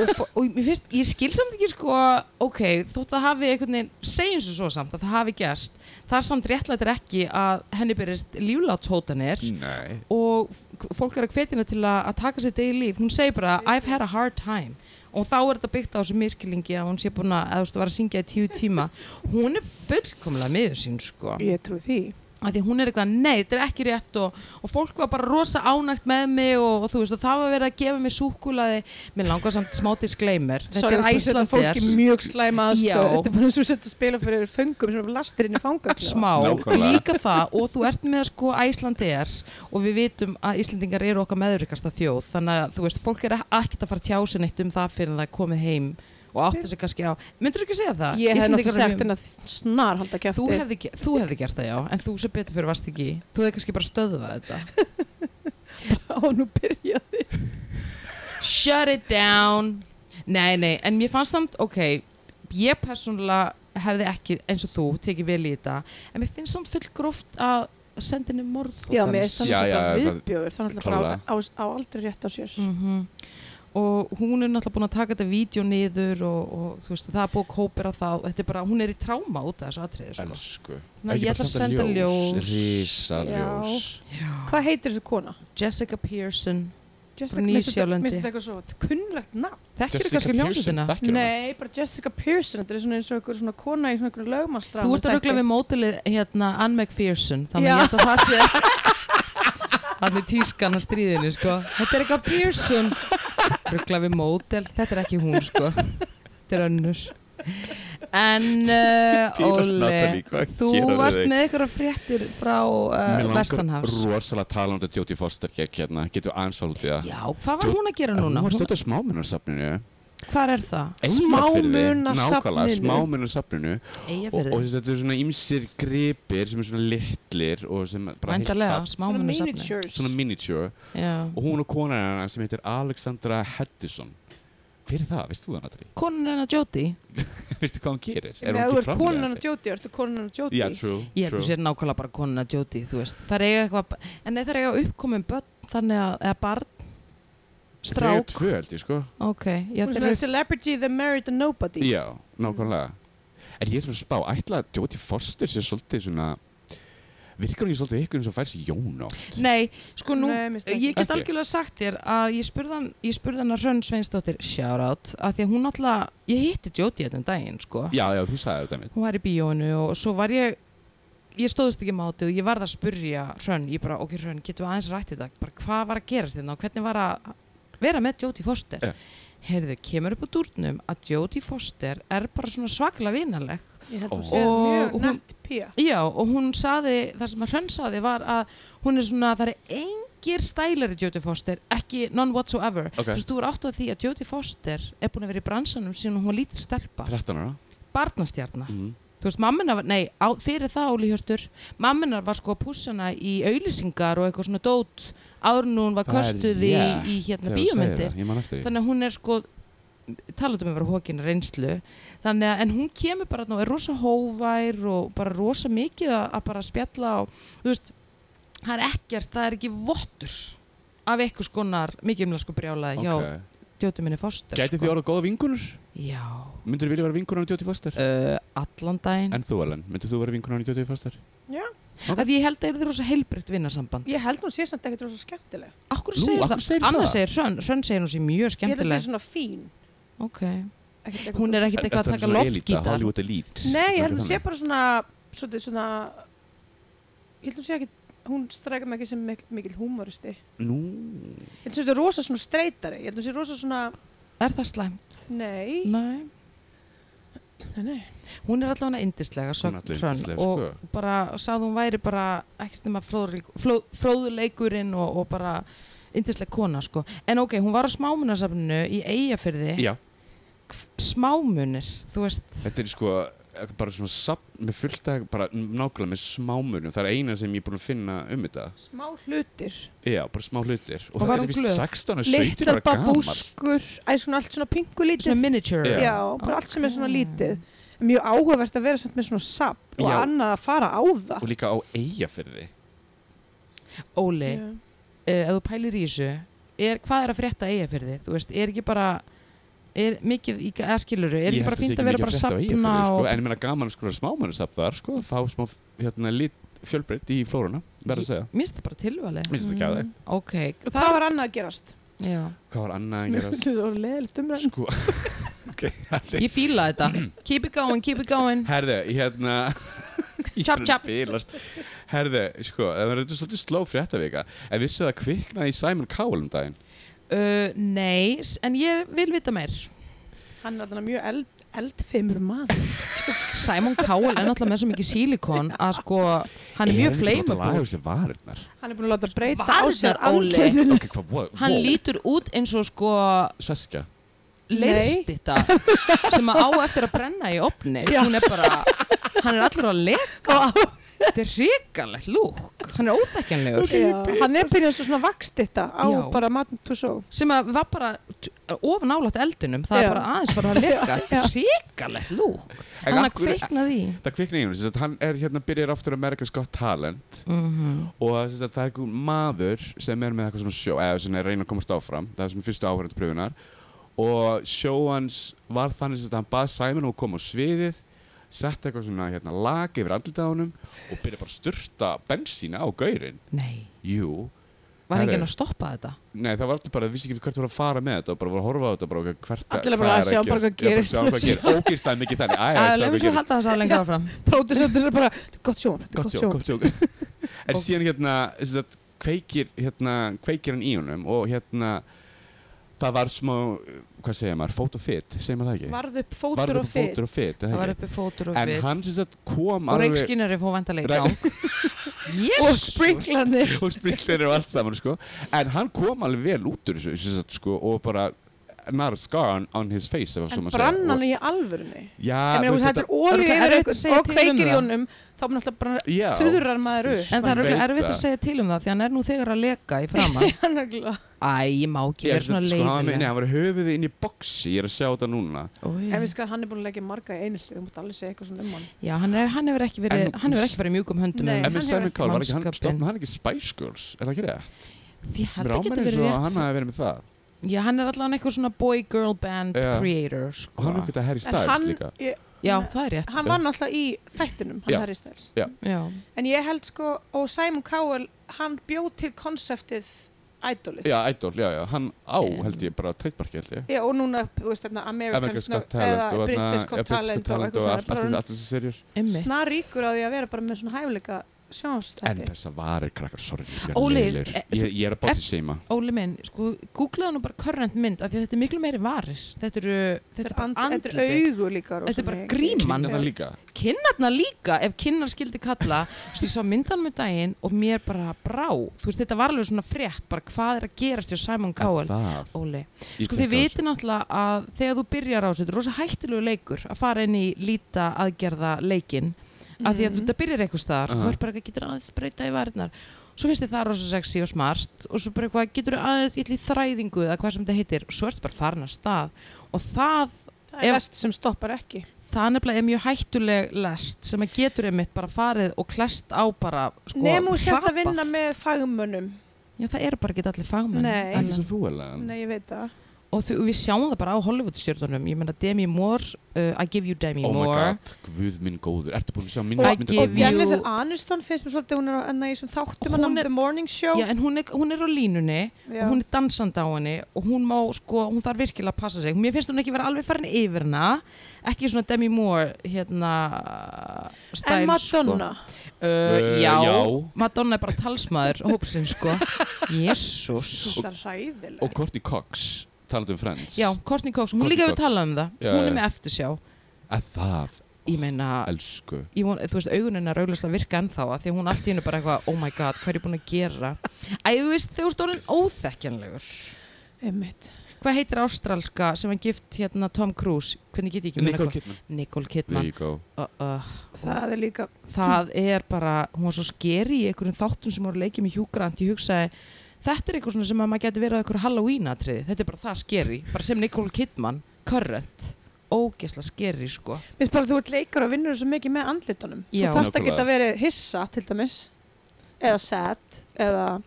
S2: og, fó- og mér finnst, ég skil samt ekki sko ok, þótt að hafi einhvern veginn segjum svo svo samt að það hafi gerst það er samt réttlætt er ekki að henni byrjast líflátshótanir
S1: Nei.
S2: og f- fólk er að hvetina til að, að taka sér degi líf, hún segir bara I've had a hard time og þá er þetta byggt á þessu miskilingi að hún sé búin að, að, að, að syngja í tíu tíma hún er fullkomlega miður sín sko
S3: Ég trú því.
S2: að því hún er eitthvað, nei, þetta er ekki rétt og, og fólk var bara rosa ánægt með mig og, og þú veist, og það var verið að gefa mér súkkulaði, mér langar samt smá disclaimer, þetta
S3: Sorry,
S2: er
S3: þú setja
S2: æslandir
S3: fólk í mjög slæma
S2: Já.
S3: aðstöð Þetta er bara eins og setja að spila fyrir föngum sem er lastir inn í fangaklefa
S2: smá,
S1: Nákvæmlega.
S2: líka það og þú ert með sko æslandir og við vitum að Íslandingar eru okkar meðurikasta þjóð þannig að þú veist, fólk er ekkert að fara að tjá sig neitt um það fyrir en það er komið heim og átta sig kannski á, myndur þú ekki segja það?
S3: Ég hef
S2: Íslendingar eru
S3: náttúrulega sagt henni að snar halda kæfti
S2: Þú hefði, ge- þú hefði gert það já, en þú sem betur fyrir varst ekki, í. þú hefði kannski bara stöðvað þetta.
S3: og nú byrjaði
S2: Shut it down Nei, nei, en mér fannst samt, ok Ég persónulega hefði ekki eins og þú tekið vel í þetta En mér finnst samt full gróft að senda henni morð
S3: Já, mér finnst það
S1: Já, já,
S3: náttúrulega
S1: það-
S3: viðbjöður, það er náttúrulega bara á, á, á aldrei rétt á sér.
S2: -hmm. og hún er náttúrulega búin að taka þetta vídeo niður og, og þú veist, það er búið að kópera það og þetta er bara, hún er í tráma út af þessu atriði sko.
S1: Elsku.
S2: Ná, ég ætla að senda ljós,
S1: Rísa
S3: Já.
S1: ljós.
S2: Já.
S3: Hvað heitir þessu kona?
S2: Jessica Pearson
S3: Jessica,
S2: Nýsjálandi.
S3: minnst þetta- minnst þetta eitthvað svo kunnlegt nafn?
S2: þekkir þú
S1: Jessica
S2: kannski
S1: Pearson,
S2: hljómsveitina?
S1: þekkirðu hana?
S3: Nei, bara Jessica Pearson, þetta er svona eins og einhver svona kona í svona einhverju lögmanstrand.
S2: Þú ert að ruggla við mótilið hérna Ann McPherson þannig
S3: Já.
S2: ég ætla að það sé þannig tískan að stríðinu sko Þetta er eitthvað Pearson ruggla við mótil, þetta er ekki hún sko þetta er önnur En uh,
S1: Fílast Natalie,
S2: Óli
S1: hvað
S2: þú
S1: gerðu
S2: varst
S1: þig?
S2: með einhverja fréttir frá
S1: Mér
S2: uh,
S1: langar
S2: Vestanhafs
S1: rosalega að tala um þetta Jóti Foster gekk hérna, getur aðeins fara út í það.
S2: Já, hvað var hún að gera
S1: En
S2: núna?
S1: Hún var
S2: Hún,
S1: stödd á smámunarsafninu.
S2: hvað er það?
S1: Nákvæmlega,
S3: Smámunasafninu.
S1: smámunarsafninu. Og, og
S2: Eyjafyrði,
S1: þessi- þetta eru svona ímsir gripir sem er svona litlir og sem er bara heilt
S2: væntalega,
S1: safn.
S3: Svona
S2: smámunni safni
S3: miniatures.
S1: Svona miniature.
S2: Já.
S1: Og hún og konan hennar sem heitir Alexandra Hedison. Hver er það? Veistu þú það, Natri?
S2: Konan hennar Jóti?
S1: Veistu hvað hún gerir?
S3: Er hún ekki
S1: framleiðandi?
S3: konan og djóti, ertu konan og djóti?
S1: Já, true,
S2: Ég held
S1: true.
S2: að sér nákvæmlega bara konuna djóti, þú veist. Það er eiga eitthvað, en nei, það er eiga uppkomin börn, þannig að, eða barn,
S1: Þegar
S2: strák,
S1: tvö held ég sko
S2: ok. Já, þeir
S3: Hún er svona
S2: eru,
S3: celebrity that married a nobody.
S1: Já, nákvæmlega En ég er svona að spá, ætla að Jóti Foster sé svolítið svona Virkar hún ekki svolítið ykkur eins og fær sér jón oft?
S2: nei, sko nú,
S3: Nei, minnst það ekki.
S2: ég get
S1: Ekki.
S2: algjörlega sagt þér að ég spurði hann, ég spurði hann að Hrönn Sveinsdóttir, shout out, að því að hún náttúrulega, ég hitti djóti þetta um daginn, sko.
S1: Já, já, þú sagði þetta mitt
S2: Hún var í bíónu og svo var ég, ég stóðist ekki mátið og ég varð að spurja Hrönn, ég bara, ok Hrönn, getum við aðeins rætt þetta, bara hvað var að gerast þérna og hvernig var að vera með Jóti Foster?
S1: Já.
S2: Heyrðu, kemur upp úr dúrnum að Jóti Foster er bara svona svaklega vinaleg.
S3: Ég held að hún
S1: Ó.
S3: sé
S2: Og
S3: mjög
S2: hún-
S3: nætt pía.
S2: Já, og hún saði, það sem að Hrönn saði var að hún er svona, það er engir stælar í Jóti Foster, ekki none whatsoever.
S1: Ok,
S2: Þú veist, þú er átt að því að Jóti Foster er búin að vera í bransanum síðan hún var lítið stelpa,
S1: 13 ára
S2: barnastjarnar.
S1: Mhm.
S2: Þú veist, mamminar var, nei, á, fyrir það Óli Hjörtur, mamminar var sko að pússa hana í auðlýsingar og eitthvað svona dót áður en hún var
S1: Það er
S2: köstuð í,
S1: rétt,
S2: í hérna
S1: Þegar þú segir
S2: bíómyndir.
S1: það, Ég man eftir því
S2: Þannig að hún er sko, talaðu um að vera hókina reynslu, þannig að, en hún kemur bara þarna og er rosa hóvær og bara rosa mikið að, að bara spjalla og, þú veist, það er ekkert, það er ekki vottur af eitthvað skonar mikilvæg sko brjálaði hjá
S1: Ok.
S2: djóti minni fóster.
S1: Gæti
S2: sko.
S1: þið orðið góða vingunur?
S2: Já,
S1: Myndur þið vilja vera vingunar á Jóti Foster?
S2: uh, allan daginn.
S1: En þú, Ellen, myndur þú vera vingunar á Jóti Foster?
S2: að því ég held að það er rosa heilbrygt vinnarsamband
S3: Ég held hún sé samt ekkert rosa skemmtileg.
S2: Akkur
S1: Nú,
S2: segir
S1: af hverju
S2: það,
S1: segirðu
S2: annars
S1: það?
S2: segir Hrönn Hrönn segir hún sé mjög
S3: Ég held að sé
S2: skemmtileg
S3: svona fín.
S2: Ok,
S3: Ekkert eitthvað-
S2: hún er ekkert eitthvað að
S1: Þetta er
S2: taka
S1: svona elita,
S2: loftgítar
S1: Hollywood elite
S3: Nei, ég held
S1: Eitthvað
S3: hún sé
S1: þannig.
S3: bara svona, svona, svona ég held hún sé ekki, hún strækja mig ekki sem mikil, mikil húmoristi.
S1: Nú,
S3: Ég held hún sé rosa svona streytari, ég held hún sé rosa svona,
S2: Er það slæmt?
S3: nei,
S2: Nei
S3: nei, nei.
S2: Hún er allavega indislega,
S1: Hún er
S2: sögn
S1: allavega
S2: Hrönn
S1: yndisleg,
S2: og
S1: sko.
S2: bara sagði hún væri bara ekkert nema fróðuleik- fló- fróðuleikurinn og, og bara indisleg kona sko En ok, hún var á smámunasafninu í Eyjafyrði
S1: já,
S2: Smámunir, þú veist
S1: Þetta er sko eh, bara svona sapn með fullt að bara nákvæmlega með smámunum það er eina sem ég er búin að finna um þetta
S3: smá hlutir,
S1: já, bara smá hlutir
S2: Og
S1: og,
S2: var
S1: það
S2: hún
S1: er vist
S2: glöð?
S1: 16 og 17
S3: litlar
S1: bara gammal
S3: babúskur, æ, svona allt svona pingu lítið,
S2: Svona miniature
S1: Já.
S3: já, bara allt sem er svona
S2: Ok.
S3: lítið. Mjög áhugavert að vera samt með svona sapp og
S1: Já.
S3: annað að fara á það.
S1: og líka á eigafyrði
S2: Óli,
S3: Já.
S2: uh, ef þú pælir í þessu er, hvað er að frétta eiga fyrir þið þú veist, er ekki bara er mikið í aðskiluru, er ekki bara fínt að vera bara að sapna
S1: sko,
S2: og
S1: en ég meina gaman að sko smámunasapn þar sko, fá smá hérna lit fjölbreytt í flóruna verður að segja
S2: minnst það bara tilvalið
S1: minnst þetta ekki að þeim
S2: ok,
S3: Hvað var annað að gerast?
S2: já.
S1: hvað var annað en gerast
S3: Þetta var leðilegt umræðin.
S1: sko ok, herri.
S2: ég fíla þetta, keep it going, keep it going
S1: herði, hérna ég
S2: Tjap,
S1: er að
S2: tjap.
S1: bilast. herði, sko, það var þetta svolítið sló fréttavika en vissu það kviknaði í Simon Cowell um daginn
S2: uh, nei, s- en ég vil vita meir
S3: Hann er alltaf mjög eld, eldfeimur maður.
S2: Simon Cowell er náttúrulega með svo mikið sílikon að sko, hann er mjög flammable
S1: þessi varirnar
S3: Hann er búin að láta breyta á sér
S2: Varnar, Óli.
S3: andlitinu.
S1: ok, hvað, wow,
S2: hann lítur út eins og sko
S1: Seskja
S2: leirstitta sem að á eftir að brenna í opni hún er bara, hann er allur að leka þetta er hrikalegt lúk hann er óþekkjanlegur
S3: Já, hann er byrjað svo svona vakst þetta á
S2: Já.
S3: bara Madame Tussauds
S2: sem að var bara t- of nálægt eldinum það
S3: Já.
S2: er bara aðeins farið að leka
S3: Já.
S2: hrikalegt lúk
S1: En
S2: hann að
S1: af hverju-
S2: kveiknaði í
S1: Það kvikna í hún, þess að hann er hérna byrjar aftur America's Got Talent
S2: Mhm.
S1: og að, að, það er einhver maður sem er með eitthvað svona sjó eða svona er að reyna að komast áfram, það er svona fyrstu áhverjandi pröfunar og sjó hans var þannig að hann bað Simon um að koma á sviðið sett eitthvað svona hérna lag yfir andlita á honum og byrja bara að styrta bensína á gaurin
S2: nei,
S1: Jú,
S2: var
S1: Herru.
S2: enginn að stoppa þetta
S1: nei það var allir bara, það vissi ekki hvert voru að fara með þetta og bara voru að horfa á þetta bara og hvert
S3: Allir
S1: hvað
S3: bara
S1: er
S3: að sjá bara hvað
S1: Já,
S3: gerist.
S1: sjá hvað gerist, ógist það mikið þannig, æja,
S2: að
S1: sjá
S2: lefum svo
S1: hvað
S2: að
S1: gerist
S2: halda þess að lengra áfram
S3: pródusöndur er bara, "Þetta er gott sjón, þetta er
S1: gott sjók, gott sjók en
S2: Og-
S1: síðan hérna, þess að kveikir hérna, kveikir hann í honum og hérna það var smá, hvað segja maður, fót og fit segja maður það ekki?
S3: varð upp
S1: Varð
S3: fótur og
S1: upp
S3: fit
S1: fótur og fit
S2: það var
S1: en
S2: uppi fótur og við
S1: hann sem sagt kom
S2: og reikskinnari fóð vandalega í
S1: Rek-
S2: gang yes.
S3: og springlandi
S1: og sprinklir og allt saman sko. en hann kom alveg vel út úr þessu sem sagt, sko, og bara not a scar on, on his face ef svo
S3: en
S1: má segja.
S3: brann hann
S1: Og-
S3: í alvörunni
S1: Já,
S3: ég
S1: þú veist,
S3: meina, þú veist, þetta er
S2: er
S3: olíu
S2: líka
S3: yfir
S2: erfitt
S3: eitthvað
S2: að segja
S3: og
S2: til um
S3: kveikir í
S2: það.
S3: honum þá er náttúrulega bara
S1: Já.
S3: þurrar maður upp
S2: en það er auðvitað
S1: Hann veit
S2: erfitt að
S1: það.
S2: segja til um það því hann er nú þegar að leka í framann
S3: Hann er glað.
S2: æ, ég má ekki
S1: Ég er
S2: vera svona
S1: svona sko, hann, nei,
S2: leiðileg
S1: hann var höfuðið inn í boxi, ég er að sjá þetta núna
S2: Oj.
S3: en við skar hann er búin að leggja marga í einhildi þú mútt alveg segja eitthvað svona um hann
S2: já, hann er- hann hefur ekki verið
S1: En-
S2: hann hefur ekki farið mjúkum höndum
S3: Nei,
S2: um
S1: En
S3: hann
S1: með Simon
S3: hefur-
S1: Cowell, var ekki hann
S2: mannskapinn.
S1: stofn, hann er ekki Spice Girls, er það ekki það?
S2: Því held
S1: Mér
S2: að
S1: ámæri
S2: geta
S1: eins
S2: verið
S1: og
S2: rétt
S1: hann hafi verið með það
S2: Já, hann er allavega eitthvað svona boy girl band
S1: Já.
S2: creator
S1: og
S2: sko.
S1: hann er ekkert að Harry
S3: en
S1: Styles
S3: hann,
S1: líka
S3: ég,
S2: Já, það er rétt
S3: hann var náttúrulega í þættinum hann
S1: Já.
S3: Harry Styles
S2: Já,
S3: en ég held sko og Simon Cowell hann bjóð til konseptið idolið
S1: Já, Idol, já, já, hann á
S2: Em.
S1: held ég bara trademarki held ég
S3: Já, og núna, þú veist, þarna,
S1: America's
S3: Americans
S1: Got
S3: eða
S1: Talent og
S3: British Got Talent og
S1: Talent
S3: eitthvað
S1: og
S3: svona,
S1: allt
S3: bara
S1: allt-
S3: orðinn
S1: allt þessi serjur
S2: ymmið
S3: snaríkur á því að vera bara með svona hæfileika
S1: En
S3: sjónstætti
S1: þessa varir krakkar, sorry, ég er
S2: Óli,
S1: leiðilegur.
S2: e-
S1: Ég ég er að bátt
S2: ert-
S1: í seima
S2: Óli minn, sko, googlaðu nú bara current mynd af því að þetta er miklu meiri varir Þetta eru, þetta eru
S3: Þetta er
S2: andliti
S3: augu líka rosa
S2: Þetta er bara
S3: mikið.
S2: gríma.
S1: Kynna
S2: Mann-
S1: það líka
S2: Kinnarna líka, ef kinnar skildi kalla Þú veist, ég sá myndanum um daginn og mér bara brá Þú veist, þetta var alveg svona frétt bara hvað er að gerast hjá Simon
S1: Er
S2: Cowell
S1: Það,
S2: Óli,
S1: Ég
S2: sko
S1: tek
S2: þið
S1: á þessu.
S2: viti náttúrulega að þegar þú byrjar á þessu, þetta er rosa hættulegu leikur að fara inn í líta aðgerða leikinn af því að
S3: Mhm.
S2: þetta byrjar eitthvað staðar,
S1: Aha.
S2: þú ert bara eitthvað, getur aðeins breyta í varirnar svo finnst þið það rosa sexy og smart og svo bara eitthvað, getur aðeins í þræðingu eða hvað sem þetta heitir, svo ertu bara farin að stað og það,
S3: Það er
S2: Ef-
S3: vest sem stoppar ekki
S2: það nefnilega er mjög hættuleg lest sem að getur einmitt bara farið og klest á bara sko,
S3: Nefnum þú sérst að
S2: hrapað.
S3: vinna með fagmönnum
S2: Já, það eru bara ekki allir fagmenn
S3: Nei.
S1: ekki
S2: Ellen.
S1: sem þú er
S3: Nei, ég veit það
S2: og þú, við sjáum það bara á Hollywood-stjörnunum ég meina Demi Moore, uh, I give you Demi
S1: Oh my
S2: Moore
S1: god, guð minn góður Ertu búin að sjá minn
S2: Og-
S1: myndbandið?
S2: Give
S3: Og Jennifer
S2: you-
S3: Aniston finnst mér svolítið, hún er enna í þessum þáttum
S2: Hún
S3: hann
S2: er-
S3: The Morning Show
S2: Já, en hún er, hún er á línunni
S3: Já.
S2: og hún er dansandi á henni og hún má, sko, hún þarf virkilega að passa sig. Mér finnst hún ekki vera alveg farin yfir hana, ekki svona Demi Moore, hérna, stæl,
S3: En Madonna
S2: Sko. Uh,
S1: Uh,
S2: já,
S1: já.
S2: Madonna er bara talsmaður, hópsinn, sko. Jésús.
S3: Það er ræðileg
S1: Og Courtney Cox, talandi um Friends
S2: Já, Courtney Cox, hún
S1: Courtney
S2: líka
S1: Cox.
S2: við talað um það.
S1: Já,
S2: hún
S1: já.
S2: er með eftirsjá.
S1: Að það,
S2: Ég meina,
S1: elsku
S2: ég von, þú veist, augunin er auglust að virka ennþá að því að hún allt í hennu bara eitthvað, oh my god, hvað er ég búin að gera? Æ, þú veist, þú veist, orðin óþekkjanlegur.
S3: Einmitt.
S2: Hvað heitir ástralska sem hann gift hérna Tom Cruise? Hvernig get ég ekki
S1: Nicole
S2: hvað-
S1: Kidman
S2: Nicole Kidman.
S1: There you go
S2: Uh, uh.
S3: Það er líka
S2: Það er bara, hún var svo skeri í einhverjum þáttum sem voru leikið með hjúgrant. Ég hugsaði, þetta er eitthvað svona sem að maður geti verið á einhverju Halloween-atriði. Þetta er bara það skeri, bara sem Nicole Kidman, current, ógesla skeri sko.
S3: Mér finnst bara að þú ert leikar og vinnur svo mikið með andlitunum
S2: Já.
S3: Þú þarft að
S1: Nákvæmlega.
S3: geta verið hissa til dæmis eða sad eða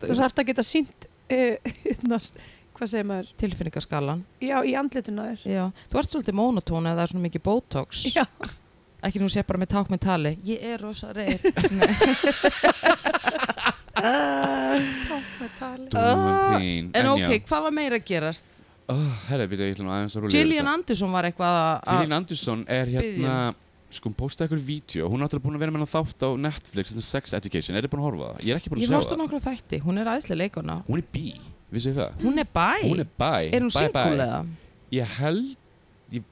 S3: þú þarft að geta sínt uh, hvað segir maður
S2: Tilfinningaskalan,
S3: já, í andlituna þér
S2: já. Þú ert svolítið monotón eða það er svona mikið botox.
S3: Já.
S2: Ekki nú sé bara með ták með tali. Ég er rosa reyð.
S3: Tók með tali
S2: Ah,
S1: Dúman þín
S2: En
S1: já.
S2: ok, hvað var meira að gerast?
S1: Oh, herra, byrja, ég ætlum aðeins að rúlega
S2: Gillian Anderson var eitthvað að...
S1: Gillian Anderson er hérna
S2: Biðja.
S1: sko, hún postaði eitthvað vídeo, hún er náttúrulega búin að vera með hann þátt á Netflix, þetta er Sex Education, er þið búin að horfa á það? Ég er ekki búin
S2: Ég
S1: að sjá
S2: hóst á
S1: það
S2: nokkra þætti, hún er æðslega leikona
S1: Hún er bí, vissu þið það?
S2: Hún er bæ,
S1: Mm. Hún er bæ,
S2: er hún
S1: bæ, bæ.
S2: singul eða?
S1: Ég held ég,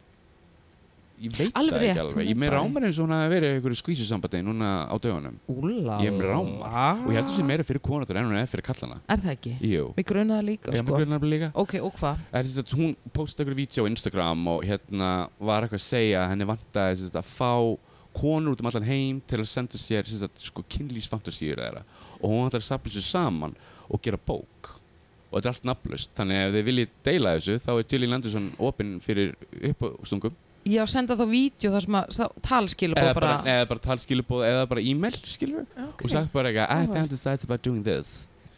S1: ég veit
S2: Alveg
S1: það
S2: rétt,
S1: ekki
S2: hún
S1: alveg,
S2: er
S1: ég með
S2: bæ.
S1: rámar eins og hún hafi verið í einhverju skvísusambandi núna á dögunum
S2: Úlá
S1: Ég er með rámar. og ég held þessi meira fyrir konatur en hún er fyrir kallana
S2: Er það ekki?
S1: Jú,
S2: Mér grunaði það líka
S1: ég er
S2: sko
S1: með grunar líka
S2: Ok, og hvað?
S1: Það er þess að hún postaði einhverju vídeo á Instagram og hérna var eitthvað að segja að henni vantaði þess að fá konur út um allan heim til að senda sér sem sagt, sko, kynlýsfantasíur þeirra og hún ætlar að sapna sér saman og gera bók og þetta er allt nafnlaust þannig að ef þið viljið deila þessu þá er Jillian Anderson opinn fyrir uppstungum
S2: Já, senda þá vídeo þar sem að sá- talskilabóð
S1: eða bara,
S2: bara,
S1: eða bara talskilubóð eða bara e-mail skilur
S3: Ah,
S1: og sagt bara eitthvað I
S2: Alright.
S1: fantasize about doing this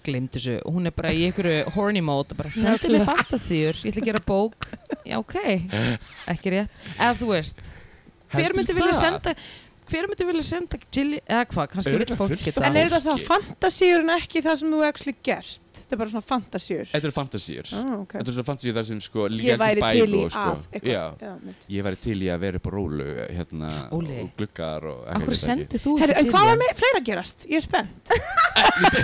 S2: gleymd þessu og hún er bara í einhverju horny mode og bara hendur mig fantasíur, ég ætla að gera bók já ok, ekki rétt eða þú veist, hver
S1: Heldur
S2: myndi vilja senda hver myndi vilja senda Jill, eða hvað, kannski
S1: Örugglega
S2: vil fólk
S1: fullt
S2: geta
S1: af-
S3: En er þetta
S1: Fólki.
S3: þá fantasíur en ekki það sem þú actually gert? Þetta er bara svona fantasíur.
S1: Þetta eru fantasíur
S3: Ah, ok.
S1: Þetta eru svona fantasíur þar sem sko
S3: Ég
S1: líka
S3: væri
S1: ekki
S3: til í
S1: bælu og sko
S3: af
S1: Já,
S3: eitthvað. Já, mitt.
S1: ég væri til í að vera upp á rólu hérna
S2: Óli.
S1: og gluggar og eitthvað,
S2: okkur
S1: ég veit ekki.
S2: sendir þú
S3: Herru,
S2: ekki
S3: en
S2: til
S3: hvað var
S2: ég?
S3: með fleira að gerast? Ég er spennt.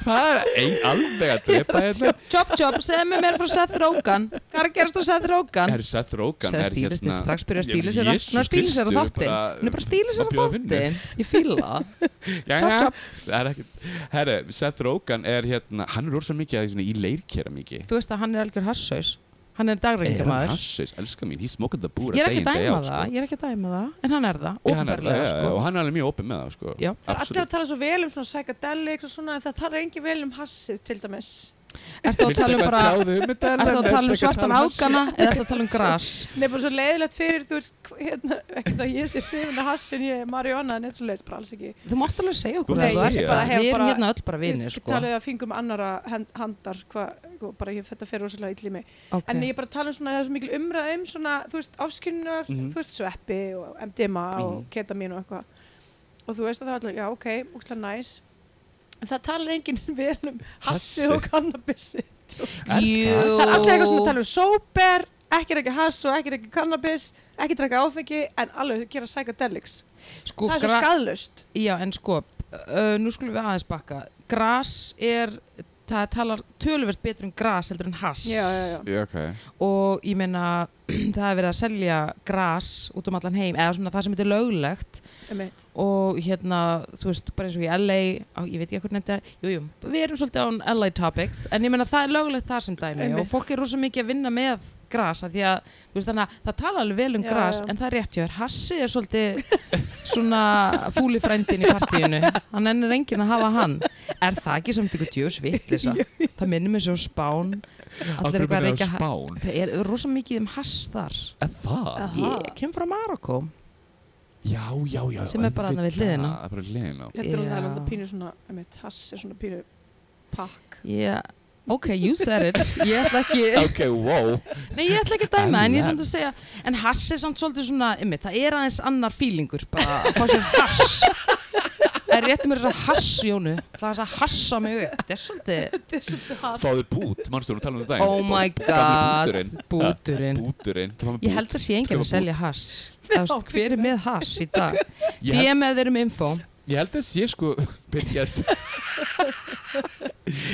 S1: Hvað er ein alveg að drepa hérna?
S2: Chop Chop, segðu mér meira frá Seth Rogen hvað er að gerast á Seth Rogen
S1: Er Seth Rogen
S2: segðu
S1: er
S2: stílist þinn,
S1: hérna-
S2: strax byrja að stíla
S1: Já,
S2: sér að-
S1: Jesús
S2: hún er að stíla sér að
S1: Kristur,
S2: þáttin
S1: bara-
S2: hún er bara að stíla sér
S1: að
S2: að
S1: bjóða vinnu.
S2: þáttin ég fíla það.
S1: Já,
S2: Chop,
S1: já,
S2: chop.
S1: það er ekkert Herru, Seth Rogen er hérna Hann er rosa mikið að- svona í leirkera mikið
S2: þú veist að hann er algjör hassaus hann er dagrengjamaður
S1: hassis, elska mín, he's smoking the búr
S2: ég er ekki að dæma það, ég er ekki að dæma það en hann er það,
S1: sko. Já, hann er-
S2: ópenbarlega
S1: já, já, og
S2: sko.
S1: hann er alveg mjög opinn með það sko.
S2: Já.
S3: Það er allir
S1: Absolutt.
S3: að tala svo vel um svona psychedelics og svona en það talar engin vel um hassið til dæmis.
S2: ertu að
S1: Viltu
S2: tala um
S1: eitthvað
S2: bara
S1: tjáðu um þetta,
S2: ertu
S1: Ellen?
S2: að tala um
S1: Ertu eitthvað
S2: svartan
S1: að tala um
S2: ágana eða ertu að tala um gras
S3: Nei, bara svo leiðilegt fyrir, þú veist, hv- hérna, ekkert að ég sé hrifin að hassin, ég er marihuana en eitt svo leiðis, bara alls ekki.
S2: þú mátt alveg segja okkur
S1: Þú
S2: ef
S1: mátt
S2: ert
S1: segja.
S2: bara-
S3: Ég hef
S2: við erum
S3: bara-
S2: hérna öll bara vinir
S3: Ég
S2: sko.
S3: talaði að fingum annara hand, handar, hvað, hva, bara ég, þetta fer rosalega illa í mig.
S2: Ok.
S3: En ég er bara að tala um svona, það er svo mikil umræð um svona, þú veist, afskynnar,
S1: Mhm.
S3: þú veist, sveppi og MDMA og
S1: Mhm.
S3: ketamin og eitthvað. Og þú veist að það er allir, já, ok, úkslega næs. En það talar enginn vel um hassi
S1: Hassi.
S3: og kannabissi.
S2: Jú.
S3: Það er allir eitthvað sem tala um sóper, ekki reykja hass og ekki reykja kannabis, ekki drekka áfengi, en alveg þau gera psychedelics.
S2: sko,
S3: það er svo
S2: gra-
S3: skadlaust.
S2: já en sko uh, nú skulum við aðeins bakka gras er það talar töluvert betur um gras heldur en hass
S3: Já, já,
S2: um-
S3: já.
S1: Já, ok.
S2: og ég meina það er verið að selja gras út um allan heim eða svona það sem þetta er löglegt
S3: Einmitt.
S2: og hérna, þú veist, bara eins og í LA á, ég veit ekki hvernig þetta, jú, jú við erum svolítið án LA Topics, en ég meina það er lögulegt það sem dæmi
S3: Einmitt.
S2: og fólk er rosa mikið að vinna með gras, af því að þú veist þannig að það tala alveg vel um
S3: Já,
S2: gras,
S3: já.
S2: en það er rétt hjá þér hassi er svolítið svona fúli frændin í partíinu hann ennir enginn að hafa hann er það ekki samt ykkur djöfus vitlisa það minnum eins og spán allir eitthvað
S1: Akkur
S2: að
S1: byrjaði á
S2: reykja ha-
S1: spán.
S2: það er rosa mikið um hass þar
S1: Er það?
S3: Aha.
S2: ég kem frá Marokko
S1: Já, já, já.
S2: Sem er bara þarna við
S1: auðvitað.
S2: hliðina.
S1: Það er bara við hliðina.
S3: Þetta er
S2: Já.
S3: alveg alltaf pínu svona, einmitt, hass er svona pínu pakk.
S2: yeah. ok, you said it ég ætla ekki
S1: Ok, wow.
S2: Nei, ég ætla ekki að dæma, en ég er samt að
S1: Ellen.
S2: segja En hass er samt svolítið svona, ymmi, það er aðeins annar fílingur Bara að fá sér hass Það er rétt mér þess að hass, Jónu Það er þess að hassa mig upp Þetta er svolítið,
S3: Þetta er svolítið hass.
S1: Fáðu bút, mannstu, þú talaðu um þetta.
S2: oh my god
S1: Gamli búturinn.
S2: Búturinn
S1: Búturinn. Þú fá með bút.
S2: Ég held að sé enginn
S1: Skrifa
S2: að selja hass Það veist, hver er með hass í dag?
S1: Ég held-
S2: DM eða þeir eru með um info
S1: Ég held að sé sko, byrja að segja,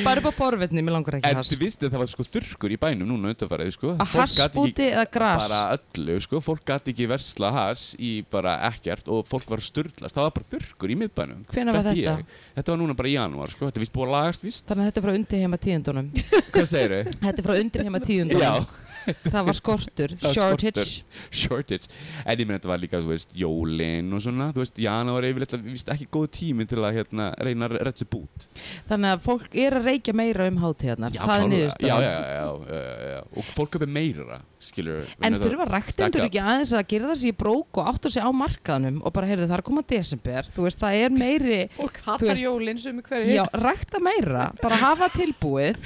S2: Bara upp á forvetni, mér langar ekki
S1: en þú
S2: hass
S1: vist að það var sko þurrkur í bænum núna undanfærið, sko.
S2: Að
S1: Fólk
S2: hass
S1: gat ekki-
S2: búti eða gras
S1: bara öllu, sko, fólk gæti ekki versla hass í bara ekkert og fólk var að sturlast, það var bara þurrkur í miðbænum
S2: Hvenær var
S1: Þekki
S2: þetta?
S1: Ég. Þetta var núna bara í janúar, sko, þetta er vist búið að lagast, vist
S2: Þannig að þetta er frá undir heima tíðundunum
S1: Hvað segir þau?
S2: Þetta er frá undir heima
S1: Já,
S2: tíðundunum Það var skortur,
S1: var skortur.
S2: shortage
S1: shortage En ég meina þetta var líka, þú veist, jólin og svona Þú veist, janúar er yfirleitt vist ekki góð tími til að hérna, reyna að redda sér bút
S2: Þannig að fólk er að reykja meira um hátíðarnar,
S1: Já,
S2: það er
S1: klálega.
S2: niðurstaðan.
S1: já, já, já, já, já, já, og fólk köpir meira, skilur
S2: En þurfa rækstendur
S1: Staka.
S2: ekki aðeins að gera það sér í brók og áttu sig á markaðnum og bara, heyrðu, það er að koma desember, þú veist, það er meiri,
S3: Fólk
S2: Þú
S3: hattar
S2: veist-
S3: jólinn sem er hverju.
S2: já, rækta meira, bara hafa tilbúið,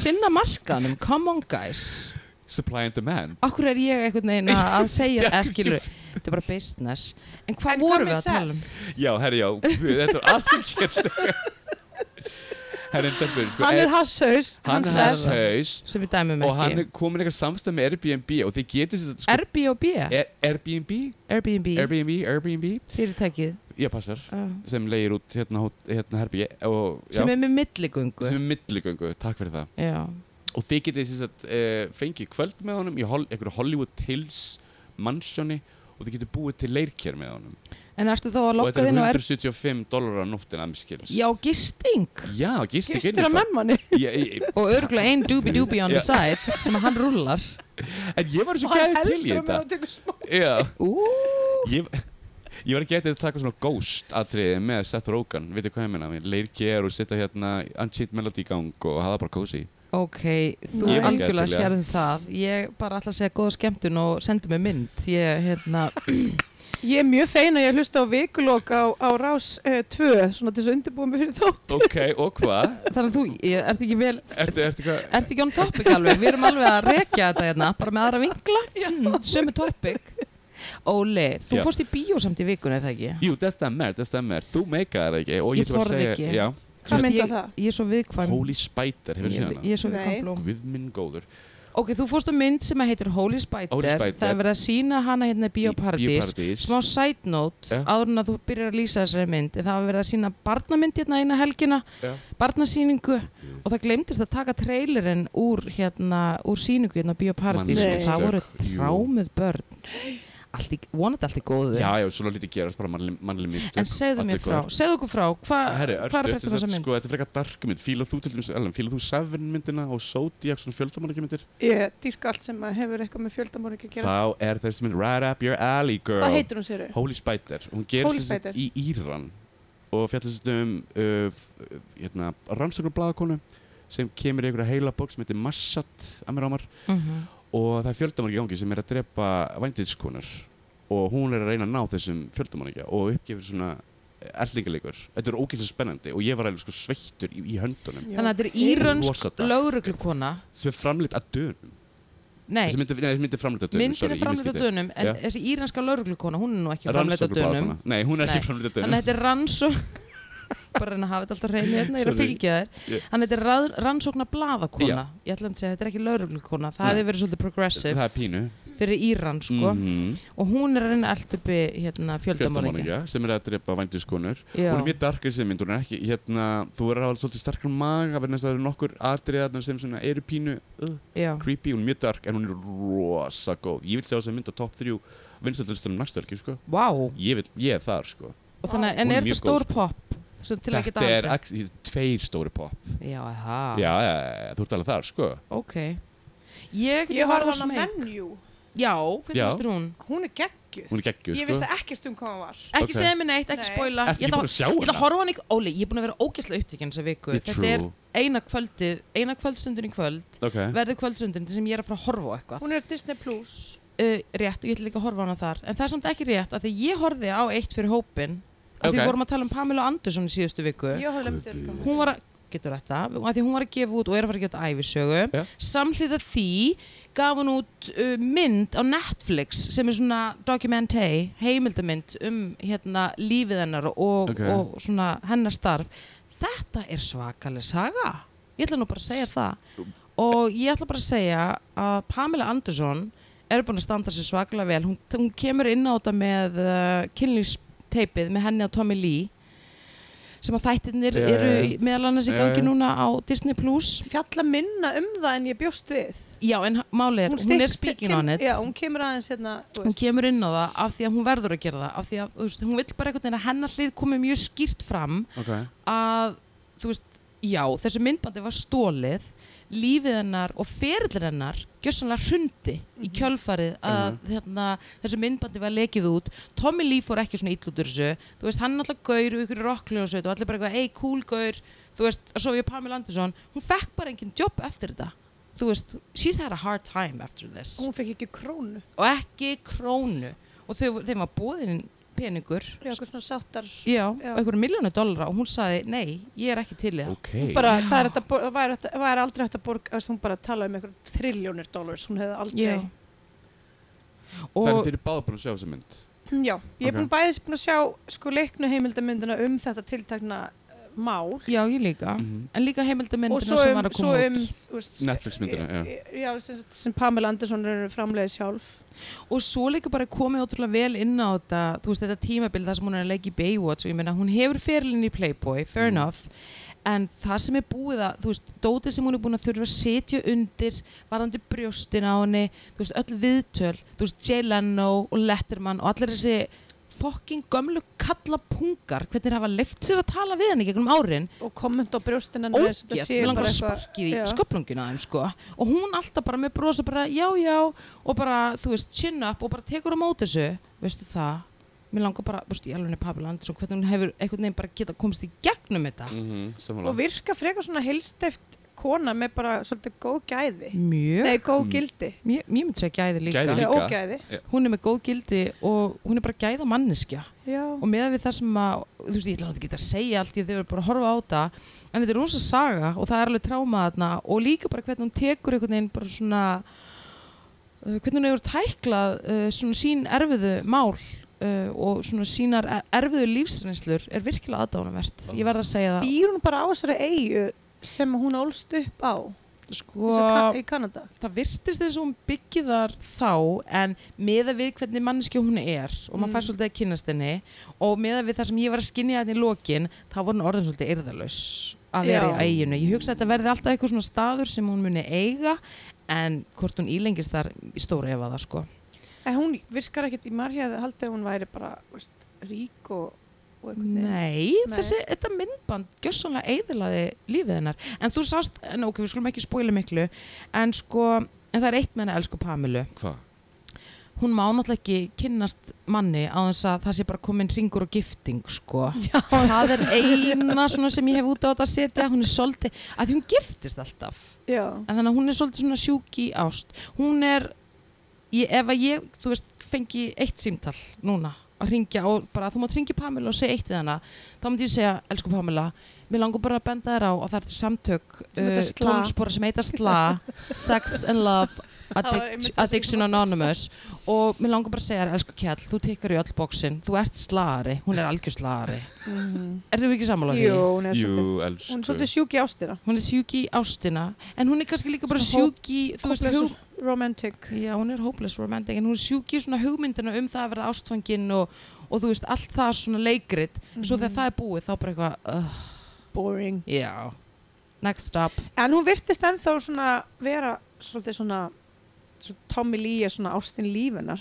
S2: sinna markaðnum, come on guys.
S1: Supply and demand
S2: Akkur er ég einhvern veginn að að segja, eða skilur, þetta er bara business. En hvað
S3: En hvað
S2: vorum
S3: með
S2: við að
S3: sex?
S2: tala um?
S1: Já, herri, já, guð, þetta er algjörlega Herri, en stelpur, sko
S3: Hann
S1: ef-
S3: er hasshaus,
S1: hann
S3: hann
S1: er
S2: sagði
S1: hans
S3: sagði.
S2: það.
S1: haus
S2: Sem við dæmum
S1: og hann
S2: ekki.
S1: er komin í eitthvað samstæð með Airbnb og þið getið sér sko,
S2: Airbnb,
S1: Air- Airbnb,
S2: Airbnb,
S1: Airbnb, Airbnb
S2: fyrirtækið,
S1: já passar,
S2: uh,
S1: sem leir út hérna, hó- hérna herbí og já,
S2: sem er með milligöngu.
S1: sem er milligöngu, takk fyrir það
S2: Já,
S1: og þið getið sér að uh, fengið kvöld með honum í hol einhverju Hollywood Hills mansioni og þið getið búið til leirkjær með honum
S2: en ertu þá að
S1: og
S2: lokka
S1: þetta er
S2: þinn á Airbnb?
S1: 175 dólarar á nóttina að mér skilst
S2: Já, gisting
S1: já gisting
S3: Gistur að memmanni.
S1: ég, ég,
S2: og örgulega ein doobie doobie on the side sem að hann rullar
S1: en ég var svo
S3: Og hann
S1: gæðið til í
S3: heldur að með
S1: þetta
S3: að tekur smá.
S1: já
S2: Ú,
S1: ég, Ég var ekki eftir að taka svona ghost atriði með Seth Rogen, veitir hvað ég meina leirger og setja hérna Unchained Melody í gang og hafa það bara cozy
S2: Ok, þú
S3: Ég er
S2: algjörlega
S1: ekki til í það.
S2: sérðum það. Ég bara ætla að segja góða skemmtun og sendi mig mynd. Ég, hérna,
S3: Ég er mjög fein að ég hlusta á vikulok á, á rás 2, svona til þess að undirbúa mig fyrir þátt.
S1: Ok, og hvað?
S2: þannig að þú, ég, ertu ekki vel,
S1: Ertu, ertu hvað?
S2: ertu ekki on topic alveg? Við erum alveg að rekja þetta hérna, bara með aðra vinkla. Mm, Sömu topic. Óli, þú
S1: Já.
S2: fórst í bíó samt í vikunni, eða ekki?
S1: Jú, það stemmir, það stemmir, þú meikar það ekki og
S2: Ég
S1: ég, ætla bara að
S2: þorði
S1: segja-
S2: ekki.
S1: Já,
S3: Hvað
S2: Þú veist,
S3: mynda
S2: ég-
S3: það?
S2: Ég er svo viðkvæm.
S1: Holy Spider, hefur
S2: Ég-
S1: þú séð hana?
S2: Ég er svo
S3: Nei.
S2: viðkvæm blóm.
S1: Guð minn góður
S2: Ok, þú fórst á mynd sem að heitir Holy Spider.
S1: Holy Spider.
S2: Það er verið að sína hana hérna í
S1: Í
S2: bíóparadís.
S1: Bíóparadís.
S2: Smá side note,
S1: Já.
S2: áður en að þú byrjar að lýsa þessari mynd, en það var verið að sína barnamynd hérna eina helgina,
S1: Já.
S2: barnasýningu og það glemdist að taka trailerinn úr hérna, úr síningu hérna á bíóparadís
S3: Mannsmistök,
S2: og það voru
S1: jú.
S2: trámuð börn. Allt í, vonandi allt í góðu.
S1: Já, já, svona lítið gerast bara mannli- mannleg mistök
S2: En segðu mér
S1: allir
S2: frá,
S1: góðar.
S2: segðu okkur frá, hva,
S1: Herri,
S2: hvað er
S1: örstutt,
S2: fættum þessa
S1: þetta,
S2: mynd?
S1: sko, þetta er frekar dark mynd Fíla þú til dæmis, Ellen, fíla þú Severin myndina og Zodiac, svona fjöldamorgi myndir
S3: Ég dýrka allt sem að hefur eitthvað með fjöldamorg að gera.
S1: Þá er þessi mynd right up your alley, girl
S3: Hvað heitir hún sér?
S1: Holy Spider Hún gerist
S3: Holy
S1: sem sagt
S3: Spider.
S1: í Íran og fjallast um uh, f- uh, hérna, rannsöknarbladakonu sem kemur í einhverja heila bók sem heitir Massat Amiramar
S2: Mhm.
S1: og það er fjöldamorgi í gangi sem er að drepa vandinskonar og hún er að reyna að ná þessum fjöldamorgi og uppgefur svona erlingaleikur. Þetta er ógeðslega spennandi og ég var alveg sko sveittur í, í höndunum
S2: Þannig að þetta er
S1: Rosa
S2: írönsk
S1: dark.
S2: lögreglukona,
S1: sem er framleitt að dönum.
S2: nei,
S1: Þessi myndi, nei, þessi myndi framleitt að dönum.
S2: myndin er framleitt á dönum en
S1: Já.
S2: þessi íranska lauruglukona, hún er nú ekki framleitt á dönum
S1: Nei, hún er
S2: Nei.
S1: ekki framleitt að
S2: þannig að
S1: dönum.
S2: þetta er rannsókn bara reyna að hafa þetta alltaf reyni hérna, ég er að
S1: Sorry.
S2: fylgja þér
S1: Yeah.
S2: þannig að þetta er rað- rannsókna bladakona ég ætla að segja, þetta er ekki lauruglukona það
S1: Nei.
S2: hefði verið svolítið progressive
S1: Það er pínu.
S2: fyrir Íran sko
S1: Mhm.
S2: og hún er að reyna allt uppi hérna, fjöldamorðingja
S1: fjöldamorðingja sem er að drepa vændiskonur hún er mjög darkar sem mynd, hún er ekki hérna, þú er að hafa svolítið sterkar maga vegna þess að það eru nokkur atriðarnar sem svona eru pínu uh,
S2: já,
S1: creepy, hún er mjög dark en hún er rosa góð, ég vil sjá þess að mynd á top 3 vinstaldalistanum næstu helgi, sko
S2: vá
S1: ég, vil, ég er þar, sko
S2: og þannig, að-
S1: Hún
S2: en
S1: er
S2: er þetta
S1: mjög
S2: stór
S1: góð, sko.
S2: pop sem til að geta Ah.
S1: þetta er
S2: aldrei-
S1: ex- í- tveir stóri pop
S2: já, það,
S1: já, já, já, þú ert alveg þar, sko
S2: ok ég,
S3: Ég
S2: var
S3: horfði á
S2: á
S3: hana
S2: smeg
S3: menju.
S2: já, hvernig
S1: Já.
S2: finnst þér hún?
S3: Hún er geggjuð.
S1: hún er geggjuð,
S3: Ég
S1: sko
S3: vissi ekkert um hvað hann var.
S2: Ekki
S1: Ok.
S2: segja mér neitt, ekki
S3: Nei.
S2: spoila
S1: Ertu
S2: Ég
S1: ekki
S2: ætla
S1: búin að sjá
S2: ég ætla að
S1: hana?
S2: horfa á hann ekki, Óli, ég er búin að vera ógeðslega upptekinn þessa viku
S1: Ég
S2: Þetta er
S1: trú.
S2: eina kvöldið, eina kvöldstundin í kvöld
S1: Ok,
S2: Verður kvöldstundin sem ég er að fara að horfa á eitthvað
S3: Hún er Disney Plus.
S2: uh, Rétt og ég ætla líka að horfa á hana þar En það er samt ekki rétt, af því ég horfði á eitt fyrir hópin Af því
S1: Ok.
S2: við vorum að tala um Pamela Andersson í síðustu viku
S3: Ég hafði lemt þér eitthvað.
S2: Hún var að, getur þetta, af því hún var að gefa út og er að fara að gefa út æfisögu
S1: Já.
S2: Samhliða því gaf hún út uh, mynd á Netflix sem er svona documentary, heimildamynd um hérna lífið hennar og,
S1: Ok.
S2: og svona hennar starf. Þetta er svakaleg saga. Ég ætla nú bara að segja það. Og ég ætla bara að segja að Pamela Andersson er búin að standa sér svakalega vel. Hún, hún kemur inn á þetta með uh, kynlýfsteipið með henni og Tommy Lee sem að þættirnir
S1: Já, já,
S2: eru
S1: já.
S2: í- meðal annars í
S1: Já,
S2: gangi
S1: já.
S2: núna á Disney Plus
S3: Fjalla minna um það en ég bjóst við.
S2: Já, en málið er, hún,
S3: stik-
S2: er speaking
S3: kem-
S2: on it
S3: Já, hún kemur aðeins hérna, þú
S2: hún
S3: veist.
S2: kemur inn á það af því að hún verður að gera það af því að þú veist, hún vill bara einhvern veginn að hennar hlið komi mjög skýrt fram
S1: ok
S2: að, þú veist, já, þessu myndbandi var stólið lífið hennar og ferillir hennar gjössanlega hrundi í
S3: Mhm.
S2: kjölfarið að hérna, þessu myndbandi var lekið út Tommy Lee fór ekki svona ítlutur þessu þú veist, hann er alltaf gaur og ykkur rockljónsveit og allir bara eitthvað, ei, cool gaur þú veist, og svo ég Pamela Anderson hún fekk bara engin jobb eftir þetta þú veist, she's had a hard time after this
S3: Hún fekk ekki krónu.
S2: og ekki krónu og þau, þeim var bóðin peningur
S3: Já, eitthvað svona sáttar.
S2: já,
S3: Já.
S2: og einhverjum miljónu dollara og hún sagði nei, ég er ekki til í það
S1: Ok,
S3: Bara, það er hægt að bor- það væri hægt- væri aldrei hægt að borga, þú veist, hún bara talaði um eitthvað triljónir dólar, hún hefði aldrei.
S2: Já.
S1: það er
S2: og
S1: þeirri báða búin að sjá þessa mynd
S3: Já, ég
S1: Ok.
S3: er búin bæðis búin að sjá sko leiknu heimildamyndina um þetta tiltakna uh, mál
S2: já, ég líka
S1: Mhm.
S2: en líka
S3: Mm. og
S2: heimildamyndina
S3: svo
S2: sem
S3: um,
S2: var að
S3: svo
S2: koma
S3: um
S2: út
S3: þú veist,
S1: Netflix myndina, já
S3: Eh, já, sem, sagt- sem Pamela Andersson er framleiði sjálf
S2: og svo líka bara komið ótrúlega vel inn á þetta þú veist, þetta tímabil þar sem hún er að leggja í Baywatch og ég meina, hún hefur ferilinn í Playboy fair
S1: Mm.
S2: enough en það sem er búið að, þú veist, dótið sem hún er búin að þurfa að setja undir varðandi brjóstin á henni, þú veist, öll viðtöl þú veist, Jay Leno og Letterman og allir þessi fucking gömlu kallapungar, hvernig þeir hafa leift sér að tala við henni gegnum árin
S3: og komment á brjóstina
S2: ógætt, við langar að
S3: eitthvað
S2: sparkið í
S3: já.
S2: sköplungina þeim sko og hún alltaf bara með brosa bara já já og bara þú veist chin up og bara tekur á móti þessu veistu það mér langar bara, þú veist, í alveg Pabla Andersson, hvernig hún hefur einhvern veginn bara geta komist í gegnum þetta
S1: Mhm, sammála.
S3: og virka frekar svona heilsteft kona með bara svolítið góð gæði
S2: mjög,
S3: nei, góð
S1: Mm.
S3: gildi
S2: mér, mér myndi segja gæði líka
S1: Gæði
S3: Nei,
S1: líka.
S3: ógæði,
S2: hún er með góð gildi og hún er bara gæða manneskja
S3: já,
S2: og meðan við það sem að, þú veist, ég ætla náttúrulega ekki að segja allt, ég þau verður bara að horfa á það en þetta er rosa saga og það er alveg tráma þarna og líka bara hvernig hún tekur einhvern veginn bara svona uh, hvernig hún hefur tæklað uh, svona sín erfiðu mál uh, og svona sínar er- erfiðu lífsreynslur er virkilega aðdánumvert ég verð að segja það
S3: býr hún bara á þessari eigu sem hún ólst upp á
S2: sko,
S3: þessa ka- í Kanada
S2: það virtist eins og hún byggi þar þá en meða við hvernig manneski hún er og maður
S3: Mm.
S2: fær svolítið að kynast henni og meða við það sem ég var að skinja þetta í lokin þá voru hún orðin svolítið eyrðalös að vera
S3: Já.
S2: í eiginu. Ég hugsa að þetta verði alltaf eitthvað svona staður sem hún muni eiga en hvort hún ílengist þar í stóra ef að það sko.
S3: en hún virkar ekkert í margjaði haldið að hún væri bara veist, rík og, og einhvern veginn.
S2: Nei,
S3: Nei.
S2: þessi, þetta myndband gjössanlega eiðilaði lífið hennar en þú sást, en ok, við skulum ekki spóila miklu en sko, en það er eitt með henni elsku Pamilu
S1: Hvað?
S2: hún má náttúrulega ekki kynnast manni á þess að það sé bara komin ringur og gifting sko. Já, það er eina svona sem ég hef út á þetta að setja hún er svolítið, að því hún giftist alltaf
S3: já,
S2: en þannig að hún er svolítið svona sjúk í ást hún er ég, ef að ég, þú veist, fengi eitt símtal núna að ringja og bara þú mátt ringja í Pamela og segja eitt við hana þá myndi ég segja, elsku Pamela mér langar bara að benda þér á að það er samtök
S3: Sem heita SLA.
S2: tónspora sem heitar SLA Sex and Love
S3: var einmitt það
S2: Addic
S3: sem
S2: Addiction
S3: þú varst að
S2: Anonymous og mér langar bara að segja þér, elsku Kjall þú tekkar í öll bóksin, þú ert slaðari hún er algjör slaðari,
S3: Mhm.
S2: erum við ekki sammála því?
S3: jú, hún er svolítið
S1: Jú, sko. elsku.
S3: hún er svolítið sjúk í ástina
S2: hún er sjúk í ástina en hún er kannski líka bara
S3: Svona
S2: sjúk í þú veist,
S3: Hopeless
S2: hug,
S3: romantic
S2: Já, hún er hopeless romantic en hún er sjúk í svona hugmyndina um það að verða ástfangin og, og þú veist, allt það svona leikrit mm svo þegar það er búið þá bara eitthvað uh,
S3: boring
S2: Já, next up
S3: en hún virtist ennþá svona vera svolítið svona svo Tommy Lee er svona ástin lífinar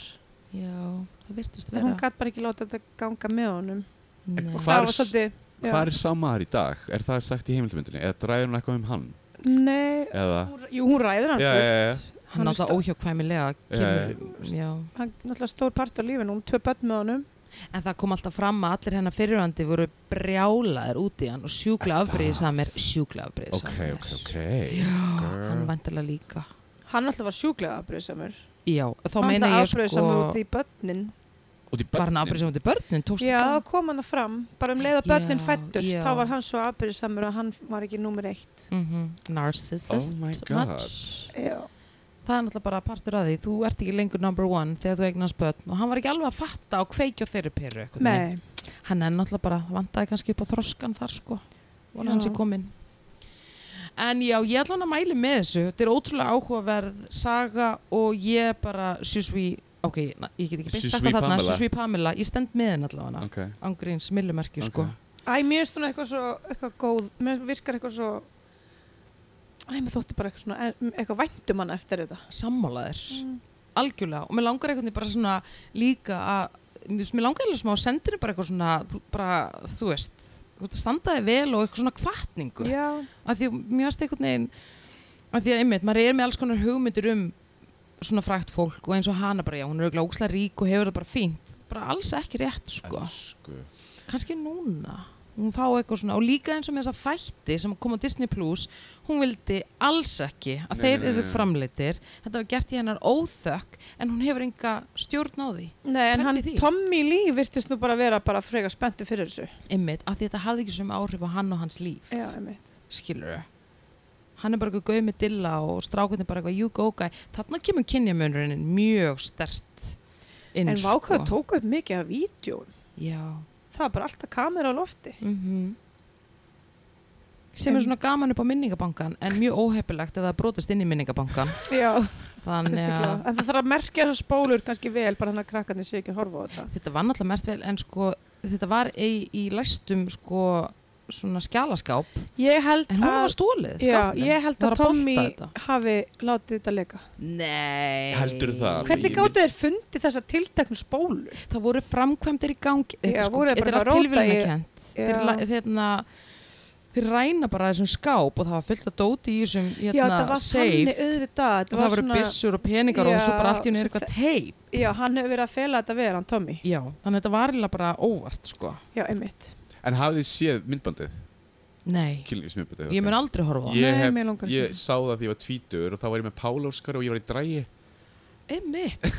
S2: Já, það virtist
S3: en
S2: vera
S3: hún gætt bara ekki láta þetta ganga með honum
S2: Nei.
S1: Og Mm. Hvar
S3: það
S1: er
S3: var
S1: s-
S3: svolítið já.
S1: Hvað er samaðar í dag? Er það sagt í heimildmyndinni? Eða ræður hún eitthvað um hann?
S3: Nei,
S1: Eða?
S3: hún- jú, hún ræður hann
S1: Já,
S3: fullt
S1: já, já.
S2: Hann
S3: Hann er
S2: náttúrulega
S3: stó-
S2: óhjókvæmilega
S1: Já,
S2: kemur, já.
S3: hann er náttúrulega stór part af lífinu, hún tvö börn með honum
S2: En það kom alltaf fram að allir hennar fyrirhandi voru brjálaðir út í hann og sjúkla
S1: Er það?
S2: afbreyðisamir sjúkla afbreyðisamir
S1: Ok, ok, ok.
S2: Ah, Hann
S1: Girl.
S2: vantilega líka
S3: hann alltaf var sjúklega afbröðsamur
S2: Já, þá
S3: hann
S2: meina
S3: alltaf
S2: ég sko
S3: afbröðsamur út í börnin
S1: Út í
S2: Var hann
S1: börnin.
S2: afbreyðisamur út í börnin? Tókstu
S3: já,
S2: það?
S3: þá kom hann það fram, bara um leið að börnin
S2: Já,
S3: fættust
S2: já.
S3: þá var hann svo afbröðsamur að hann var ekki númer eitt
S2: mm narcissist
S1: Oh my
S2: much.
S1: God.
S3: já,
S2: það er náttúrulega bara partur að því þú ert ekki lengur number one þegar þú eignast börn og hann var ekki alveg að fatta og kveikja á þeirri peru einhvern veginn.
S3: nei
S2: hann er náttúrulega bara, vandaði kannski upp á þroskan þar sko, vona hans
S3: Já.
S2: er komin en já, ég ætla hann að mæli með þessu þetta er ótrúlega áhugaverð saga og ég bara Sjúsví, ok, na, ég get ekki beint
S1: Je
S2: sagt
S1: suis
S2: það þarna,
S1: Pamela.
S2: Sjúsví Pamela ég stend með henn allavega hana,
S1: Ok,
S2: ángríns millumerki
S1: ok.
S2: sko
S3: Æ, mér finnst hún eitthvað svo, eitthvað góð, mér virkar eitthvað svo, æ, mér þótti bara eitthvað svona, en- eitthvað væntum hann eftir þetta.
S2: sammálaðir
S3: Mm.
S2: algjörlega og mér langar einhvern veginn bara svona líka að þú veist, mér langar eða smá að senda henni bara eitthvað svona bara þú veist þú veist, standaði vel og eitthvað svona kvartningu
S3: Já,
S2: að því mér varst einhvern veginn að því að einmitt, maður er með alls konar hugmyndir um svona frækt fólk og eins og hana bara, já, hún er auðvitað ókslega rík og hefur það bara fínt bara alls ekki rétt, sko
S1: Elsku.
S2: kannski núna hún fá eitthvað svona og líka eins og með þessa þætti sem kom á Disney Plus hún vildi alls ekki að
S1: Nei,
S2: þeir
S1: nei, nei,
S2: eru
S1: nei.
S2: framleitir þetta var gert í hennar óþökk en hún hefur enga stjórn á því
S3: nei, en
S2: Pældi
S3: hann,
S2: því.
S3: Tommy Lee virtist nú bara vera bara freka spenntu fyrir þessu.
S2: einmitt af því þetta hafði ekki sem áhrif á hann og hans líf
S3: Já, einmitt.
S2: skilur hann er bara eitthvað gauð með dilla og strákunni bara eitthvað you go guy þarna kemur kynjamönurinn mjög stert inn
S3: En vákvæðu
S2: sko.
S3: tóku upp mikið af vídjón.
S2: já
S3: Það var bara alltaf kamera á lofti.
S2: -hmm. sem
S3: En-
S2: er svona gaman upp á minningabankan en mjög óheppilegt ef það brotist inn í minningabankan
S3: Já,
S2: þannig
S3: sérstaklega.
S2: að
S3: En það þarf að merkja þessar spólur kannski vel, bara hann að krakkarnir sé ekki að horfa á þetta.
S2: þetta var náttúrulega mert vel en sko þetta var í, í læstum sko svona skjálaskáp
S3: Ég held
S2: en hún var
S3: að...
S2: stólið
S3: Ah, Já,
S2: skápnum.
S3: ég
S2: Var
S3: held að
S2: bolta
S3: Tommy
S2: þetta.
S3: hafi látið þetta leika.
S2: Nei
S1: Heldurðu það?
S3: Hvernig
S1: Ég-
S3: gáttu þeir fundið þessa tilteknu spólu?
S2: Það voru framkvæmdir í gangi
S3: Já,
S2: Þetta, er sko,
S3: voru þeir
S2: þetta er
S3: bara
S2: allt
S3: að róta í-
S2: tilvílunarkent
S3: Já.
S2: Þetta er la- hérna þeir ræna bara þessum skáp og það var fullt að dóti í þessum
S3: já, það
S2: hérna,
S3: var
S2: safe
S3: þannig auðvitað
S2: og það voru byssur og peningar og
S3: Já,
S2: svo bara allt í henni er
S3: sem
S2: eitthvað teip
S3: já, hann hefur verið að fela þetta vera, hann Tommy
S2: já, þannig að þetta var eiginlega bara óvart sko.
S3: já, einmitt
S1: En hafið þið séð myndbandið?
S2: nei,
S1: Kynlífsmyndbandið?
S2: ég mun aldrei horfa á það
S1: Ég
S3: Nei,
S1: hef-
S3: mig langar
S1: Ég
S3: ekki.
S1: sá það því ég var tvítur og þá var ég með Pál Óskar og ég var í drægi
S2: einmitt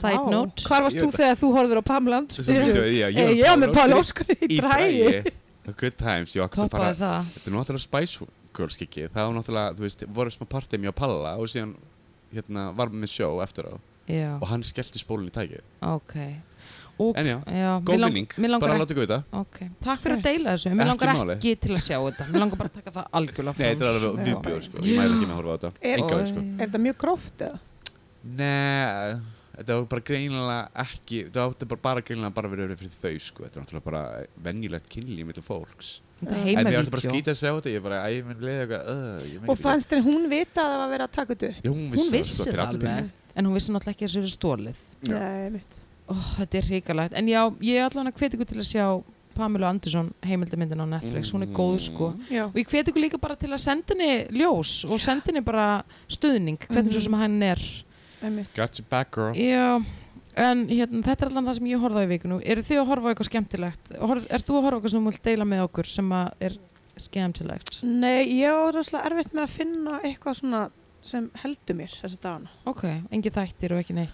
S2: side
S3: Vá.
S2: note
S3: hvar varst
S1: Ég
S3: þú
S1: veit
S3: þegar þú horfður á Pamland
S1: Svo myndum við, já,
S3: ég ég var með Pála Óskar í
S1: í
S3: drægi
S1: drægi Good times, ég átti bara
S2: toppaði það
S1: Þetta er náttúrulega Spice Girls kikið Það var náttúrulega, þú veist, voru smá partið mér á Palla og síðan hérna, var með sjó eftir á
S2: já,
S1: og hann skellti spólun í tækið
S2: ok og,
S1: En já,
S2: já,
S1: góð
S2: mig lang-
S1: vinning,
S2: mig langar
S1: bara
S2: ekki-
S1: láta guða
S2: ok. takk fyrir að deila þessu,
S1: Ekki
S2: mér langar
S1: máli.
S2: ekki til að sjá þetta mér langar bara að taka það algjörlega
S1: Nei,
S2: fram
S1: þetta er alveg
S3: Já.
S1: viðbjóð, sko, ég mæla ekki með að horfa á þetta
S3: Er-
S1: Enga veginn, sko
S3: er þetta mjög gróft eða?
S1: Nei, þetta var bara greinilega ekki Þetta átti bara, bara greinilega bara verið fyrir þau, sko Þetta er náttúrulega bara venjulegt kynlíf mittl fólks
S2: þetta er
S3: En
S1: En mér varst
S2: heimavídeó
S1: bara að skýta að segja á þetta, ég bara, æ, ég minn leiði eitthvað uh, ég meina
S3: og
S1: ekki-
S3: fannst þér hún vita að það var verið að taka þetta upp?
S1: Já, hún
S2: hún
S1: vissi, sko,
S2: vissi
S1: fyrir
S2: það
S1: alla peninga.
S2: alveg en hún vissi náttúrulega ekki að þessu er stólið
S1: Já.
S3: Nei, einmitt
S2: Ó, þetta er hrikalegt, en já, ég er allavega hveti ykkur til að sjá Pamela Andersson heimildamindin á Netflix, hún er
S1: Mhm.
S2: góð sko
S3: já,
S2: og ég hveti ykkur líka bara til að senda henni ljós og senda henni bara stuðning hvernig
S3: Mm.
S2: svo sem hann er
S3: einmitt
S1: Got you back, girl
S2: já, en hérna, þetta er allan það sem ég horfði á í vikinu eru þið að horfa á eitthvað skemmtilegt Horf, er þú að horfa á eitthvað sem þú vilt deila með okkur sem að er skemmtilegt
S3: Nei, ég á rosalega erfitt með að finna eitthvað svona sem heldur mér þessi dagana.
S2: ok, engi þættir og ekki neitt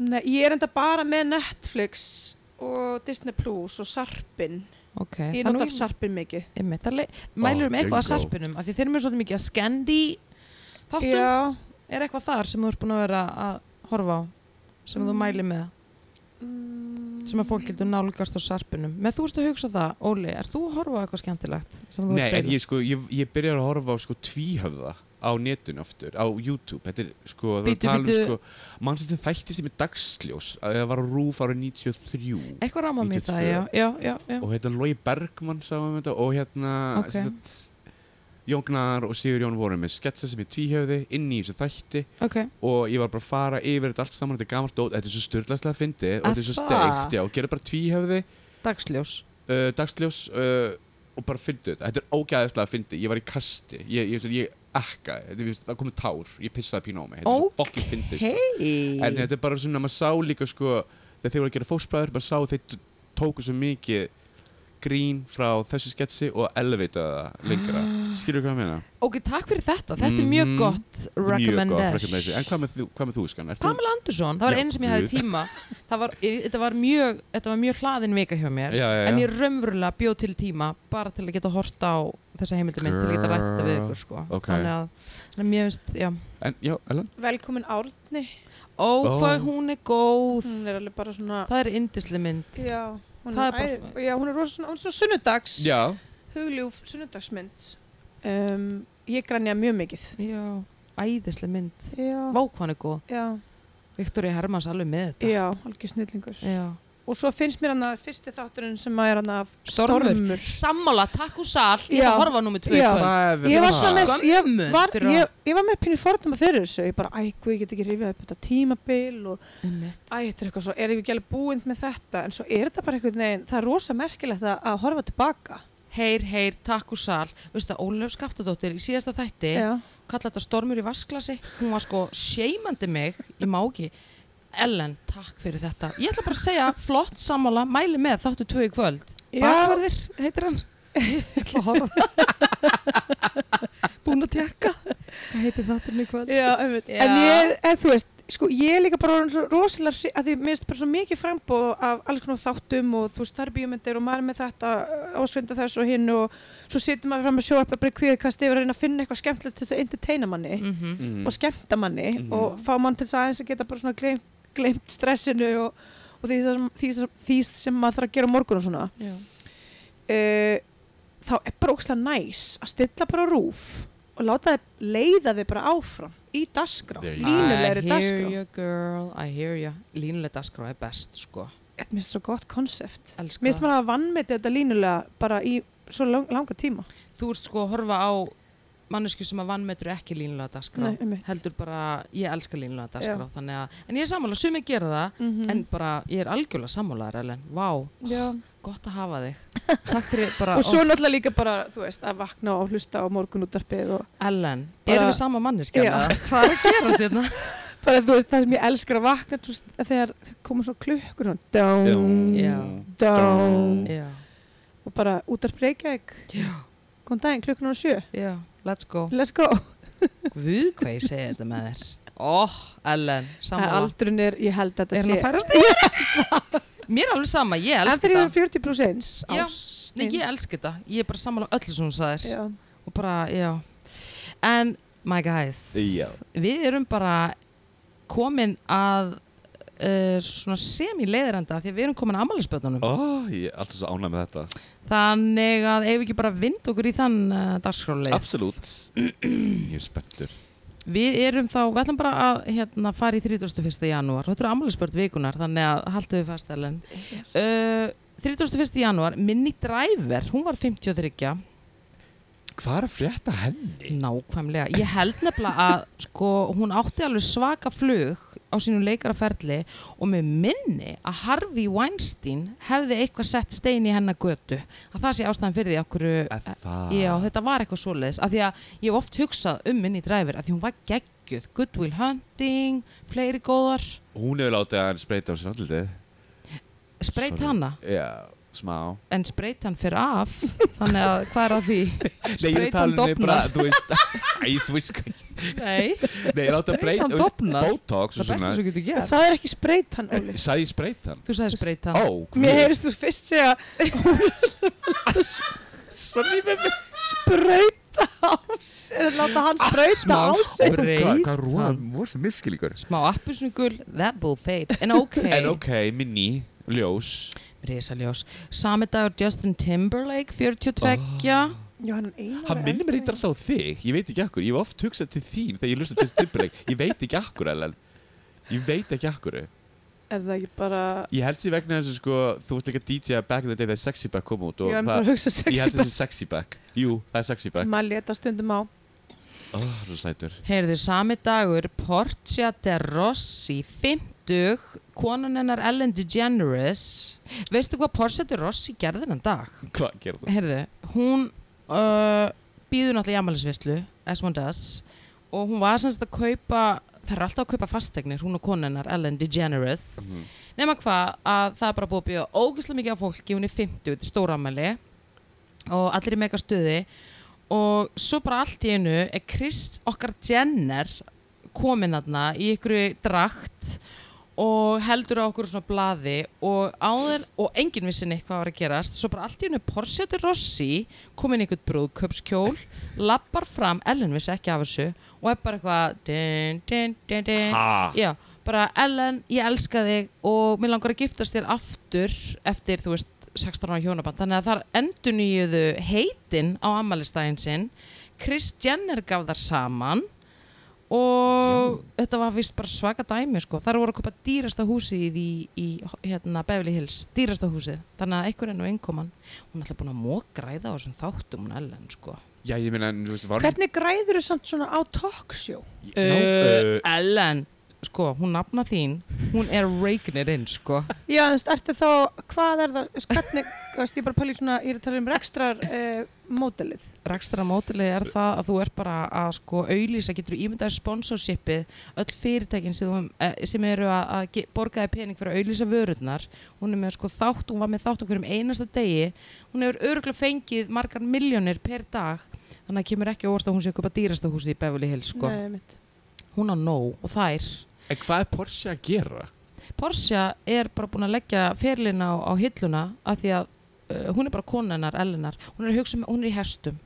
S3: Nei, ég er enda bara með Netflix og Disney Plus og Sarpin.
S2: ok, það er
S3: Ég
S2: nú
S3: nota Sarpin mikið.
S2: einmitt, það le- mælur um eitthvað að
S1: bingo.
S2: sarpinum af því þeir eru með svolítið mikið að skendi þáttum
S3: Já,
S2: er eitthvað þar sem þú ert búin að vera að horfa á sem þú
S3: Mm.
S2: mæli með
S3: mm,
S2: sem að fólk heldur nálgast á sarpinum með þú ert að hugsa það, Óli, er þú að horfa á eitthvað skemmtilegt sem þú
S1: Nei,
S2: ert
S1: en ég sko, ég, ég byrjar að horfa á sko tvíhöfða á netun aftur, á YouTube, þetta er sko, það var
S2: Bíddu,
S1: að tala
S2: bíddu.
S1: um sko, mann sem þætti sem er dagsljós, að það var á rúf árið 93
S2: eitthvað ráma mér
S1: 92.
S2: það, já, já, já, já.
S1: og hérna Lói Bergmann sá um þetta og hérna,
S2: Ok.
S1: okay. sett, Jógnar og Sigur Jón voru með sketsa sem er tvíhöfði inn í þessu þætti
S2: ok,
S1: og ég var bara að fara yfir þetta allt saman, þetta er gamalt dót, þetta er svo styrlaðslega fyndið og
S2: Er
S1: þetta er svo
S2: það?
S1: steikt, já, og gera bara tvíhöfði
S2: dagsljós
S1: uh, dagsljós uh, og bara fyndið þetta. Þetta er ógæðislega fyndið. Ég var í kasti. Ég, ég, ég ekkaði. Þetta, ég, það komið tár. Ég pissaði pínu á mig. Þetta er svo fokkin fyndið. sko. En
S2: hei
S1: þetta er bara svona, maður sá líka sko, þegar þeir voru að gera fósbræður, maður sá að þeir t- tóku svo mikið grín frá þessu sketsi og elvitaði það lengra.
S2: Ah.
S1: Skilur hvað ég meina?
S2: ok, takk fyrir þetta, þetta er mjög
S1: Mhm.
S2: gott
S1: Þetta er mjög gott recommendation.
S2: recommendation
S1: En hvað með þú, hvað með þú skan? Ert þú-
S2: Pamela Andersson, það var
S1: Já,
S2: einu sem ég hafði
S1: guð.
S2: tíma Það var, þetta var mjög þetta var mjög hlaðin vika hjá mér
S1: Já, já, já.
S2: en ég raunverulega bjóð til tíma bara til að geta horta á þessa heimildamind til að geta rætt þetta við ykkur sko.
S1: Girl, ok.
S2: þannig að þannig að mér finnst, já
S1: En, já, Ellen?
S3: velkomin Árni.
S2: ó
S1: Ó.
S2: hvað hún er góð
S3: Hún er alveg bara svona,
S2: það er indisli mynd
S3: já, hún
S2: Það
S3: er,
S2: er bara-
S3: æð- já, hún er rosa svona, hún er svona sunnudags,
S1: Já.
S3: hugljúf sunnudagsmynd. Um, ég grænja mjög mikið.
S2: já, æðisli mynd
S3: Já,
S2: vá hvað hún er góð,
S3: já,
S2: Viktoria Hermans alveg með þetta
S3: já, algjör snillingur.
S2: já.
S3: Og svo finnst mér hann að fyrsti þátturinn sem maður er hann að
S2: Stormur. sammála, takk úr sal ég
S3: Já.
S2: ætla að horfa á númið tvö í
S3: Já.
S2: kvöld.
S1: Hvað er
S3: Ég var
S1: það?
S3: svona með, ég
S2: Skömmu
S3: var,
S2: fyrir
S3: ég, ég var með pínu fordama fyrir þessu, ég bara, æ, guð, ég get ekki rifjað upp þetta tímabil og,
S2: Einmitt.
S3: æ, þetta er eitthvað svo, er ég ekki alveg búinn með þetta, en svo er þetta bara einhvern veginn, það er rosa merkilegt að, að horfa tilbaka.
S2: heyr, heyr, takk úr sal veistu að Ólef Skaftadóttir í síðasta þætti
S3: Já,
S2: kalla þetta stormur í vasklasi hún var sko seimandi mig í máki Ellen, takk fyrir þetta ég ætla bara að segja, flott sammála mæli með þáttu tvö í kvöld
S3: já,
S2: Bakvarðir, heitir hann ég ætla að horfa búin að tekka hvað heitir þátturinn í kvöld
S3: já, einmitt.
S2: Já.
S3: en ég, en þú veist, sko, ég er líka bara orðin svo rosalega, hri- að því mér finnst bara svo mikið frambóð af alls konar þáttum og þú veist, þar er bíómyndir og maður er með þetta, áskvenda þess og hinn og svo situr maður fram að sjóa bara kvíðkast yfir að reyna að finna eitthvað skemmtilegt til þess að entertaina manni.
S2: mm -hmm.
S1: Mm.
S3: og skemmta manni
S1: Mhm.
S3: og fá mann til þess aðeins að geta bara svona glemt, glemt stressinu og, og því, sem, því, sem, því sem maður þarf að gera á morgun og svona uh, þá er bara ókslega næs að stilla bara á rúf og láta þið leiða þið bara áfram í dagskrá,
S1: There you go.
S3: línulegri
S2: I hear
S3: dagskrá
S2: you girl, I hear you línuleg dagskrá er best sko
S3: þetta minnst svo gott konsept
S2: Elska
S3: minnst
S2: það.
S3: maður að vannmeti þetta línulega bara í svo lang, langa tíma
S2: þú ert sko að horfa á mannesku sem að vannmetur ekki línulega dagskrá
S3: Nei, einmitt.
S2: heldur bara, ég elska línulega dagskrá
S3: Já.
S2: þannig að, en ég er sammála, sumir gera það
S3: Mhm.
S2: en bara, ég er algjörlega sammálaðar Ellen, vá,
S3: Já.
S2: gott að hafa þig takk fyrir bara,
S3: og svo náttúrulega líka bara, þú veist, að vakna og hlusta á morgunútarpið og
S2: ó, Ellen,
S3: bara-
S2: erum við sama manneski
S3: Já.
S2: hvað er að gerast hérna?
S3: bara þú veist, það sem ég elskar að vakna þú veist, að þegar koma svo klukkur svona, dán,
S2: Já.
S1: Dán.
S3: dán
S2: já,
S3: og bara útarp Reykjavík
S2: já,
S3: góðan daginn, klukkur á sjö,
S2: já, let's go
S3: let's go
S2: Guð hvað ég segi þetta með þér Óh, Oh, Ellen,
S3: Að
S2: sammála
S3: aldurinn er, ég held að þetta
S2: Er hann
S3: sé
S2: að færast þig? Mér er alveg sama, ég
S3: en
S2: elska
S3: þegar ég er
S2: þetta
S3: 40% eins
S2: Já,
S3: árs
S2: Nei, ég
S3: eins.
S2: elska þetta, ég er bara sammála öllu sem hún sagðir
S3: Já.
S2: og bara, já En, my guys
S1: Já.
S2: Við erum bara komin að uh, svona semi-leiðrenda því að við erum komin að ammælisbötunum
S1: Ó, ég er alltaf svo ánæg með þetta
S2: Þannig að eigum við ekki bara að vinda okkur í þann uh, dagskráleið
S1: Absolutt Ég er spenntur
S2: Við erum þá, við ætlum bara að hérna, fara í 31. janúar Þetta eru ammælisbörn vikunar, þannig að haldum við fast, Ellen
S3: Yes.
S2: uh, 31. janúar, Minnie Driver hún var 53,
S1: Hvað er að frétta henni?
S2: nákvæmlega ég held nefnilega að sko, hún átti alveg svaka flug á sínum leikaraferli og með minni að Harvey Weinstein hefði eitthvað sett stein í hennar götu að það sé ástæðan fyrir því okkur
S1: Er það?
S2: Já, þetta var eitthvað svoleiðis af því að ég hef oft hugsað um minni dræfir af því hún var geggjuð, Good Will Hunting fleiri góðar,
S1: Hún hefur látið að hann spreita á sér andlitið
S2: spreyt
S1: Sorry.
S2: hana
S1: Já, smá
S2: en spreyt hann fyrir af þannig að hvað er að því?
S1: Nei, ég er að
S2: Spreytan
S1: tala um mig bara,
S2: dofnar.
S1: þú veist Æ, þú veist hvað ég-
S2: Nei,
S1: Nei, ég láta að breyta
S2: Spreytan
S1: þú veist,
S2: dofnar.
S1: Botox og
S2: það besta
S1: svona
S2: sem getur gert
S3: það er ekki spreyt hann, Óli
S1: Sæði spreytan
S2: Þú sagði spreita
S1: Ó, guð.
S3: mér heyrist þú fyrst segja
S1: Sorry, baby.
S3: um spreyta á sig eða láta
S1: Ah,
S3: hann spreyta á sig
S1: Hvað- Hvað rúða,
S2: Spreytan.
S1: voru sem miskilíkur
S2: Smá appusnugul, that will fade En ok,
S1: En ok, minni, ljós
S2: risaljós Sami dagur Justin Timberlake 42
S1: Ah.
S3: já, hann er einar
S1: Hann minnir mér eitthvað alltaf á þig, ég veit ekki akkur Ég hef oft hugsað til þín þegar ég lusta til stipurleik Ég veit ekki akkur, Ellen Ég veit ekki akkur
S3: er það ekki bara
S1: Ég held sér vegna þessu sko Þú ert líka DJ back in the day þegar Sexy Back kom út og
S3: ég er bara
S1: það,
S3: að hugsa
S1: Ég
S3: sexy
S1: held þessi Sexy Back Jú, það er Sexy Back
S3: maður leta stundum á
S1: Ó, það er sætur
S2: Heyrðu, sami dagur Portia de Rossi 50 Konan hennar Ellen DeGeneres Veistu hvað Portia de Rossi gerði hennan dag?
S1: Hvað gerðu?
S2: Heyrðu, hún uh, býður náttúrulega í amalisvislu as one does og hún var semst að kaupa það er alltaf að kaupa fastegnir, hún og konan hennar Ellen DeGeneres
S1: Mhm.
S2: nema hvað að það er bara búið að bjóða ógeðslega mikið af fólki, hún er 50, stóramæli og allir er mega stuði og svo bara allt í einu er Krist okkar Jenner komin aðna í ykkur drakt og heldur á okkur svona blaði og áður og enginn vissi neitt hvað var að gerast svo bara allt í einu Porsche de Rossi komin í einhvern brúðköpskjól lappar fram, Ellen vissi ekki af þessu og er bara eitthvað din, din, din, din.
S1: Ha?
S2: Já, bara Ellen, ég elska þig og mér langar að giftast þér aftur eftir, þú veist, 16 ára hjónaband þannig að þar endurnýjuðu heitin á ammælistæðin sinn Kris Jenner gaf þar saman og þetta var vist bara svaka dæmi sko, þar voru að kaupa dýrasta húsið í, í hérna Beverly Hills, dýrasta húsið, þannig að einhver enn og einkoman, hún er alltaf búin að mógræða á þessum þáttum hún Ellen sko
S1: Já, ég meina, en þú veist, var
S3: hvernig græður þú samt svona á talkshow
S1: Ég- Já,
S2: uh,
S1: uh,
S2: Ellen, sko, hún nafna þín hún er reignirinn sko
S3: já, þú veist, ertu þá, hvað er það þú veist, hvernig, þú veist, ég bara pæli svona ég er að tala um rekstrar uh, mótelið
S2: Rækstra mótilið er það að þú er bara að sko auðlýsa, getur þú ímyndaði sponsorshipið, öll fyrirtækin sem, þú- eh, sem eru að, að ge- borga þér pening fyrir að auðlýsa vörurnar, hún er með sko þátt, hún var með þátt okkur um einasta degi, hún hefur örgulega fengið margar miljónir per dag, þannig að kemur ekki óvart að hún sé að köpa dýrasta húsið í Beverly Hills sko,
S3: Nei, mitt.
S2: hún á nóg og þær.
S1: En hvað er Porsche að gera?
S2: Porsche er bara búin að leggja ferlina á, á hilluna af því að uh, hún er bara konennar, Ellenar, hún er, að hugsa um, hún er í hestum,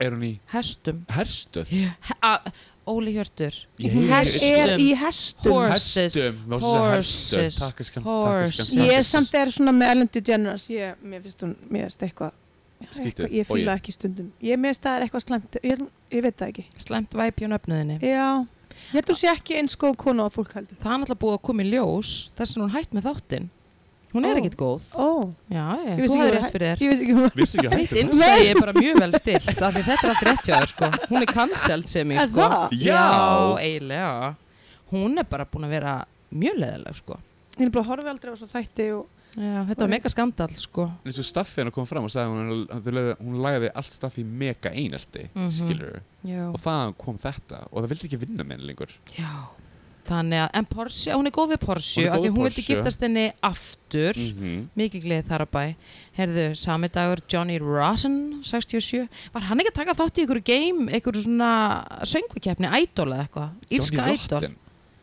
S1: Er hún í
S2: hestum.
S1: herstöð?
S2: He- a- Óli Hjörtur
S1: Ég
S2: Hún
S1: heyri
S3: er
S2: hestum
S3: í hestum
S2: Horse. Horses.
S1: Hestum, má svo segja herstöð.
S2: Horses.
S1: Takk, elskan,
S2: Horses.
S1: takk, elskan,
S3: ég
S1: takk,
S3: samt er svona með Ellen DeGeneres ég, mér finnst hún, mér finnst eitthvað
S1: Skrítið.
S3: eitthvað- ég
S1: Og ég-
S3: fýla ekki stundum ég mér finnst það er eitthvað slæmt ég, ég veit það ekki
S2: Slemt væpi á nöfnuðinni
S3: já, ég held þú sé ekki eins góð konu á fólk heldur
S2: Það er náttúrulega búið að koma í ljós þess að hún hætt með þáttinn Hún er
S3: Ó.
S2: ekkert góð.
S3: Ó,
S2: Já, ég,
S3: Ég
S2: þú
S3: vissi ekki
S2: hefði
S3: voru
S2: rétt fyrir þér.
S3: ég veist ekki hún
S1: Vissi ekki að hætti
S2: Þitt innsæði er bara mjög vel stilt af því þetta er allt rétt hjá þér sko. Hún er cancelled sem ég
S3: Er
S2: sko.
S3: það?
S1: Já.
S2: eiginlega. Hún er bara búin að vera mjög leðileg sko.
S3: Ég er bara að horfa aldrei á svo þætti og
S2: Já, þetta var mega skandal sko.
S1: En eins og staffið hennar kom fram og sagði hún, að þau lögðu- hún lagði allt staffið í mega einelti,
S2: Mhm.
S1: skilur
S2: Já.
S1: Og þaðan kom þetta og það vildi ekki vinna með henni lengur.
S2: Já. Þannig að, en Porsche, hún er góð við Porsche
S1: Hún er
S2: af
S1: góð
S2: því hún
S1: við
S2: vildi
S1: Porsche.
S2: giftast henni aftur.
S1: -hmm.
S2: Mikið gleði þar að bæ. Herðu, sami dagur Johnny Rosen, 67. Var hann ekki að taka þátt í einhverju game, einhverju svona söngvikeppni, idol eða eitthvað? Írska idol.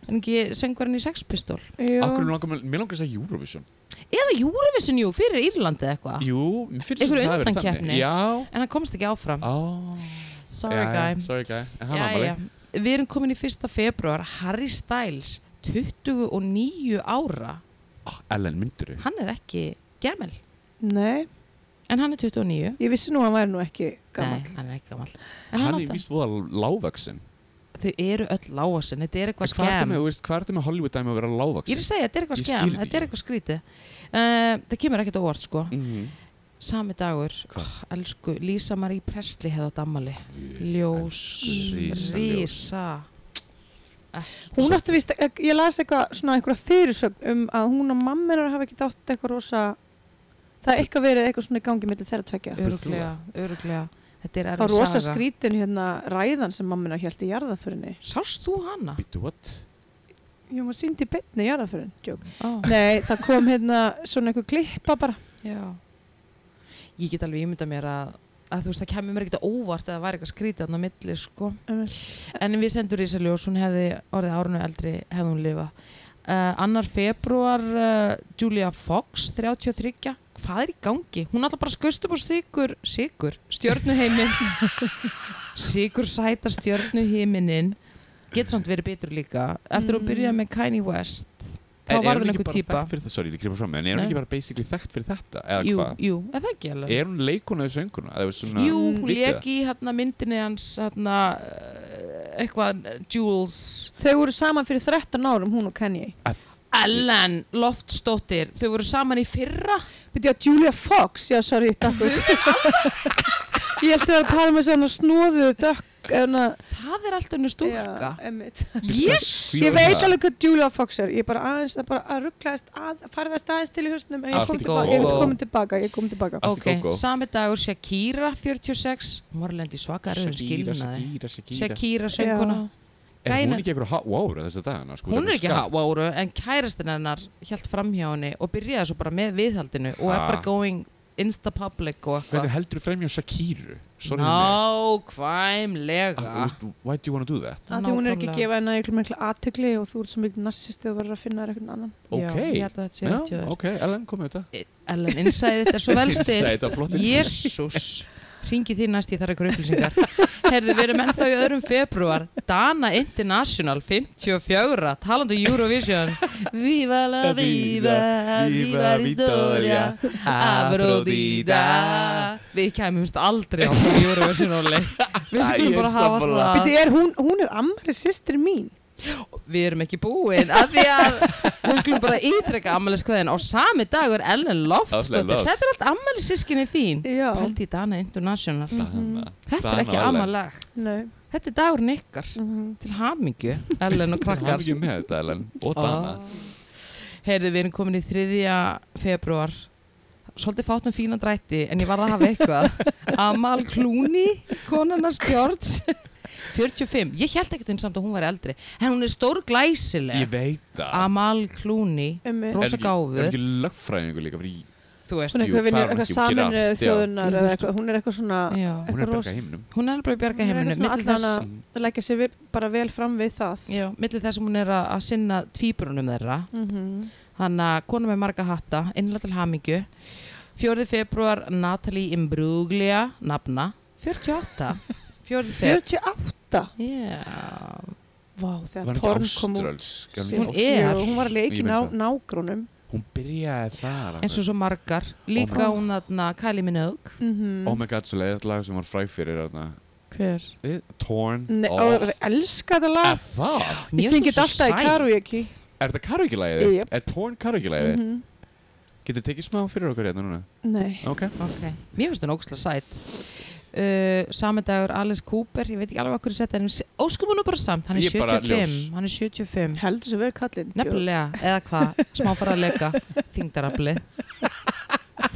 S2: En ekki söngvarinn í Sex Pistol.
S1: Akkur langar mér, mér langar þess að segja Eurovision.
S2: Eða Eurovision, jú, fyrir Írlandi eða eitthvað.
S1: Jú, mér finnst
S2: Ah. Einhver
S1: þess að það hafi verið
S2: undankeppni.
S1: þannig. Já.
S2: En hann komst ekki áfram.
S1: Oh.
S2: Sorry guy.
S1: Sorry guy. En hann var
S2: Jæja,
S1: bara
S2: við erum komin í 1. februar Harry Styles, 29 ára
S1: oh, Ellen mynduru.
S2: Hann er ekki gemel
S3: Nei,
S2: En hann er 29
S3: ég vissi nú að hann væri nú ekki gammal
S2: Nei, hann er ekki gammal En
S1: Hann
S2: hann
S1: er
S2: átta
S1: víst voða lágvaxin.
S2: Þau eru öll lágasin, þetta er eitthvað
S1: Hvað ertu
S2: skem
S1: með, þú veist, hvað ertu með Hollywood dæmi um að vera
S2: Ég er
S1: lágvaxin?
S2: að segja, þetta er eitthvað
S1: Ég skil
S2: skem
S1: þetta
S2: Þetta er
S1: ekki.
S2: eitthvað skrítið uh, Það kemur ekkert á óvart sko
S1: Mhm.
S2: Sami dagur,
S1: Hvað?
S2: oh, elsku Lísa Marie Presley hefði átt ammali Ljós,
S1: Rísa ljós.
S2: rísa
S3: Hún átti vist, ég las eitthvað svona einhverja fyrirsögn um að hún og mamma hennar hafa ekki átt eitthvað rosa það er eitthvað verið eitthvað svona í gangi millir þeirra tvekja
S2: Öruglega, öruglega Þetta er
S3: Það var
S2: erfið
S3: rosa
S2: saga.
S3: skrítin hérna ræðan sem mamma hennar held í jarðaförinni
S2: Sást þú hana?
S1: Býtu, what?
S3: Jú, maður síndi í beinni í jarðaförin Jók.
S2: Ó,
S3: Nei, það kom hérna svona einhver klippa bara
S2: já. Ég get alveg ímyndað mér að, að þú veist, það kemur mér ekkert á óvart eða væri eitthvað skrítið hann á milli, sko.
S3: Einmitt.
S2: En við sendur Ísa Ljós, hún hefði orðið árunu eldri, hefði hún lifað. Uh, annar februar, uh, Julia Fox, 33, hvað er í gangi? Hún alltaf bara skust upp á sigur, sigur, stjörnuheiminn, sigur sæta stjörnuheiminn, getur samt verið betur líka. Eftir hún
S3: Mm.
S2: byrjaði með Kanye West, þá
S1: En er
S2: var
S1: hún
S2: hún
S1: ekki
S2: einhver
S1: bara
S2: típa.
S1: þekkt fyrir það, sorry, ég grýpa fram, en er hún
S2: Nei.
S1: ekki bara basically þekkt fyrir þetta, eða
S2: Jú,
S1: hvað?
S2: jú, er það ekki alveg?
S1: Er hún leikuna eða sönguna? Eða þú veist svona,
S2: Jú, hún
S1: vitið
S2: leik
S1: það?
S2: í hérna, myndinni hans hérna, eh, eitthvað eh, Jules
S3: Þau voru saman fyrir 13 árum, hún og Kanye
S1: Að-
S2: Ellen Loftsdóttir þau voru saman í fyrra
S3: Býtti að Julia Fox, já, sorry, datt út Ég held að vera að tala með svona snóðu, dökk hérna, eða
S2: það er alltaf henni stúlka
S3: Emmitt
S2: Jésus!
S1: Hví
S3: Ég
S1: var
S3: veit
S1: það?
S3: alveg hvað Julia Fox er, ég er bara aðeins að, bara að rugglaðist að, farðast aðeins til í husnum en ég
S1: Allt
S3: kom
S1: í
S3: tilbaka,
S1: góðu.
S3: ég er komin tilbaka, ég er komin tilbaka.
S1: Allt í
S2: ok,
S1: gógó.
S2: sami dagur Shakira 46, hún var lendi svaka rauðum
S1: Shakira,
S2: skilnaði
S1: Shakira, Shakira
S2: Shakira sönguna,
S1: Er hún
S2: gæna-
S1: ekki eitthvað hot wow þess að dagana? Sko,
S2: hún er ekki
S1: skap.
S2: háváru en kærastin hennar hjælt framhjá henni og byrjaði svo bara með viðhaldinu og er
S1: Ha.
S2: bara going insta public og
S1: Hvernig
S2: eitthvað
S1: heldur þú fremjá Shakiru? Sorry no.
S2: nákvæmlega
S1: Why do you wanna do that?
S3: Af því hún er ekki
S2: Nákvæmlega.
S3: að gefa hennar einhverjum einhverjum aðtegli og þú ert svo mikið narsist þegar þú verður að finna þér einhvern annan.
S2: Já,
S1: Ok.
S2: ég held að þetta sé
S1: Já,
S2: rétt hjá þér.
S1: ok, Ellen, kom með þetta
S2: Ellen, innsæði þetta er svo vel
S1: Insight, það er flott
S2: stilt
S1: insight.
S2: Jésús Ringi þín næst, ég þarf eitthvað upplýsingar Herðu, við erum ennþá í öðrum februar Dana International 54 Talandu um Eurovision Viva la vida Viva Victoria Afrodita Við kæmumst aldrei á Eurovision Óli Við
S1: Æ, ég
S2: skulum
S1: er
S2: bara hafa
S1: sammála.
S2: það
S3: Býtti, er hún, hún er ammali sýstri mín.
S2: við erum ekki búin af því að við skulum bara ítreka ammæliskveðin á sami dagur Ellen Loftsdóttir,
S1: Ellen Lofts.
S2: þetta er allt ammælisískinni þín
S3: Já.
S2: held í Dana International
S1: Dana
S2: Mhm. þetta er
S1: Mm. Dana
S2: ekki
S1: Ellen.
S2: ammalag
S3: Nei.
S2: þetta er dagurinn ykkar
S3: Mm
S2: til hamingju, Ellen og
S1: Það er
S2: krakkar
S1: ekki með þetta, Ellen Og Dana
S2: heyrðu við erum komin í 3. februar svolítið fátt um fína drætti en ég var að hafa eitthvað Amal Clooney, konarnas George 45, ég held ekkert einn samt að hún var eldri en hún er stór glæsileg
S1: Ég veit það
S2: Amal Clooney
S3: Emmitt.
S1: Er
S2: rosa
S1: ekki-
S2: gáfuð.
S1: Er ekki lögfræðingur líka fyrir í-
S2: þú veist
S3: Hún er
S1: Jú,
S3: eitthvað,
S1: það
S3: vinur-
S1: er hún ekki, hún
S3: eitthvað
S1: gerir
S3: saminu
S1: allt, já.
S3: þjóðunar
S2: Ég
S3: eða
S2: veist.
S3: eitthvað, hún er eitthvað
S2: já.
S3: svona,
S1: Hún er
S3: Eitthvað
S1: að
S3: rosa-
S1: berga heiminum
S2: hún er alveg að bjarga
S3: Hún er
S2: heiminum milli
S3: eitthvað svona
S2: þess,
S3: allan það leggja sér við, bara vel fram við það.
S2: já, milli þess sem hún er að, að sinna tvíbrunum þeirra
S3: Mm
S2: þannig að konu með marga hatta innlega til hamingju 4. februar Natalie Imbruglia nafna 48 4. februar
S3: 48?
S2: yeah.
S3: Vá,
S1: Var
S3: þegar
S1: hún
S3: Torn
S1: ekki
S3: kom út.
S1: áströlsk? Er
S2: Hún
S1: Hún, ekki
S2: er.
S3: Jú, hún var að leika
S1: Ég
S3: í
S1: veit
S3: ná,
S1: það.
S3: nágrunum
S1: áströlsk? hún byrjaði þar
S2: eins og svo margar líka
S3: Oh.
S2: hún þarna Kylie Minogue
S3: mm
S1: Oh my god, svo leiðið lag sem var fræg fyrir þarna.
S2: hver?
S1: Eh, Torn
S3: Nei,
S1: Oh.
S3: og ég elska þetta lag
S1: Er það?
S3: Ég syngi þetta alltaf í karaoke.
S1: Er þetta karaoke-læðið?
S3: Jep.
S1: Er Torn karaoke-læðið?
S3: Mhm.
S1: Getur tekið smá fyrir okkur hérna núna?
S3: Nei.
S1: Ok.
S2: Ok, mér finnst hún ógustlega sætt uh, Samendagur Alice Cooper Ég veit ekki alveg hvað hverju setja en Óskum hún er bara samt, hann er
S1: Ég er bara
S2: 75
S1: ljós.
S2: Hann er 75
S3: Heldur svo vel kallinn.
S2: Nefnilega, eða hvað, smá fara að leika Þingdarafli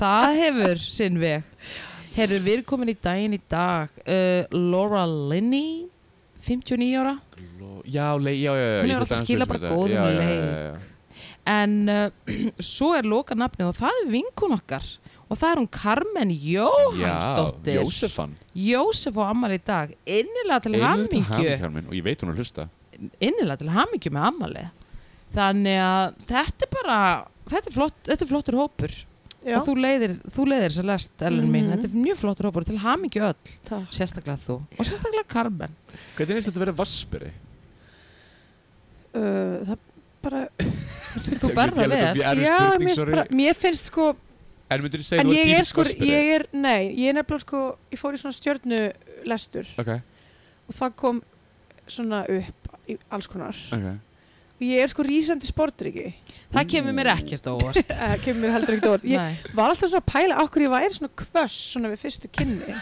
S2: Það hefur sinn veg Herru, við erum komin í daginn í dag uh, Laura Linney 59 ára
S1: Gló- Já, leik, já, já, já.
S2: Hún
S1: ég
S2: er
S1: þurfti
S2: alltaf
S1: aðeins
S2: skila
S1: að hugsa um
S2: bara
S1: þetta.
S2: góðum
S1: Já, já, já,
S2: leik.
S1: já, já.
S2: En uh, svo er loka nafnið og það er vinkun okkar Og það er hún Carmen Jóhansdóttir
S1: Já, Jósefan
S2: Jósef og Amal í dag innilega til
S1: Einnig
S2: hamingju
S1: hamingjar minn og ég veit hún að hlusta
S2: innilega til hamingju með Amali þannig að þetta er bara þetta er, flott, þetta er flottur hópur
S3: Já,
S2: og þú leiðir, þú leiðir sér lest Ellen mín,
S3: Mhm.
S2: þetta er mjög flottur hópur og til hamingju öll,
S3: takk.
S2: sérstaklega þú og sérstaklega Carmen
S1: Hvernig er þetta að vera vassberi?
S3: Uh, það bara,
S2: þú berða vel,
S3: já,
S1: Já,
S3: mér, bara, mér finnst sko,
S1: En myndur þú segja
S3: en
S1: þú
S3: ég er
S1: típisk
S3: sko,
S1: vassberi?
S3: ég er, nei, ég er nefnilega sko, ég fór í svona stjörnulestur
S1: Ok,
S3: og það kom svona upp í alls konar.
S1: ok
S3: Og ég er sko rísandi sportryggi,
S2: það kemur mér ekkert á óvart
S3: uh, kemur mér heldur ekkert orð. Ég
S2: Nei.
S3: var alltaf svona að pæla okkur ég væri svona kvöss svona við fyrstu kynni.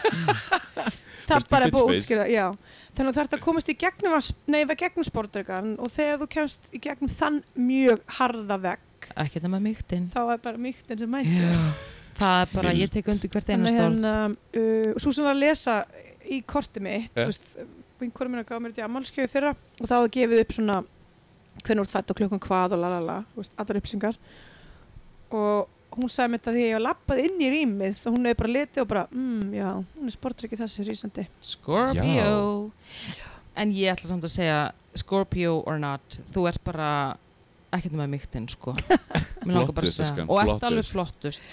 S3: það
S1: Bara
S3: er bara
S1: stupid
S3: búið að
S1: face.
S3: útskýra, já. Þannig að þarf að komast í gegnum, að, nei, í gegnum sportryggan og þegar þú kemst í gegnum þann mjög harða vegg
S2: ekkert nema mýktinn
S3: þá er bara mýktin sem mætir
S2: Já. það er bara, ég tek undir hvert einast orð
S3: hérna, uh, svo sem var að lesa í korti mitt
S1: Ja.
S3: yeah. veist, vinkonum minna gaf mér þetta í ammálskjöðu þeirra og þá hafði gefið upp svona hvernig úr fætt og klukkan hvað og lalala veist, allar upplýsingar og hún sagði mér þetta því að ég lappaði inn í rýmið þá hún hefði bara litið og bara mm, já, hún er sportrykki þessi rísandi
S2: Scorpio en ég ætla samt að segja Scorpio or not, þú ert bara ekkert með mýktinn sko Mér langar bara að
S1: Flottust,
S2: segja,
S1: elskan,
S2: og ert
S1: flottust.
S2: alveg flottust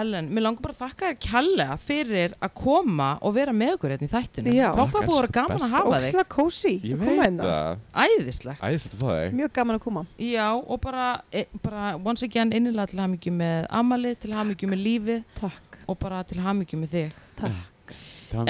S2: Ellen, mér langar bara að þakka þér kjallega fyrir að koma og vera með okkur hérna í þættinu
S3: Já.
S2: Hvað var
S1: Takk,
S2: búið að vera gaman að
S1: elsku
S2: hafa þig?
S3: óksla kósi
S1: Ég
S3: að koma
S1: veit
S3: hérna.
S1: það
S2: Æðislegt
S1: Æðist að fá þig
S3: mjög gaman að koma
S2: Já, og bara, e, bara once again innilega til hamingju með Amali til hamingju með lífið
S3: takk,
S2: og bara til hamingju með þig
S1: Til hamingju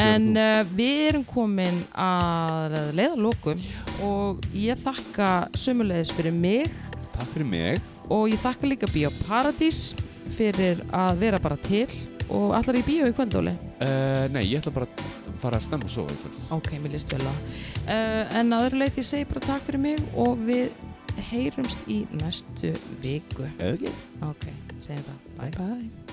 S2: En
S1: með
S2: uh, við erum komin að leiða lókum og ég þakka sömulegis fyrir mig
S1: þú. Takk fyrir mig
S2: og ég þakka líka Bíó Paradís fyrir að vera bara til og allar í bíó í kvöldóli.
S1: Eh, Nei, ég ætla bara að fara að stemma og sofa í kvöld.
S2: Ok, mér líst vel á. Uh, en aður leiti ég segi bara takk fyrir mig og við heyrumst í næstu viku.
S1: Ok
S2: Ok, segjum það. Bye.
S3: bye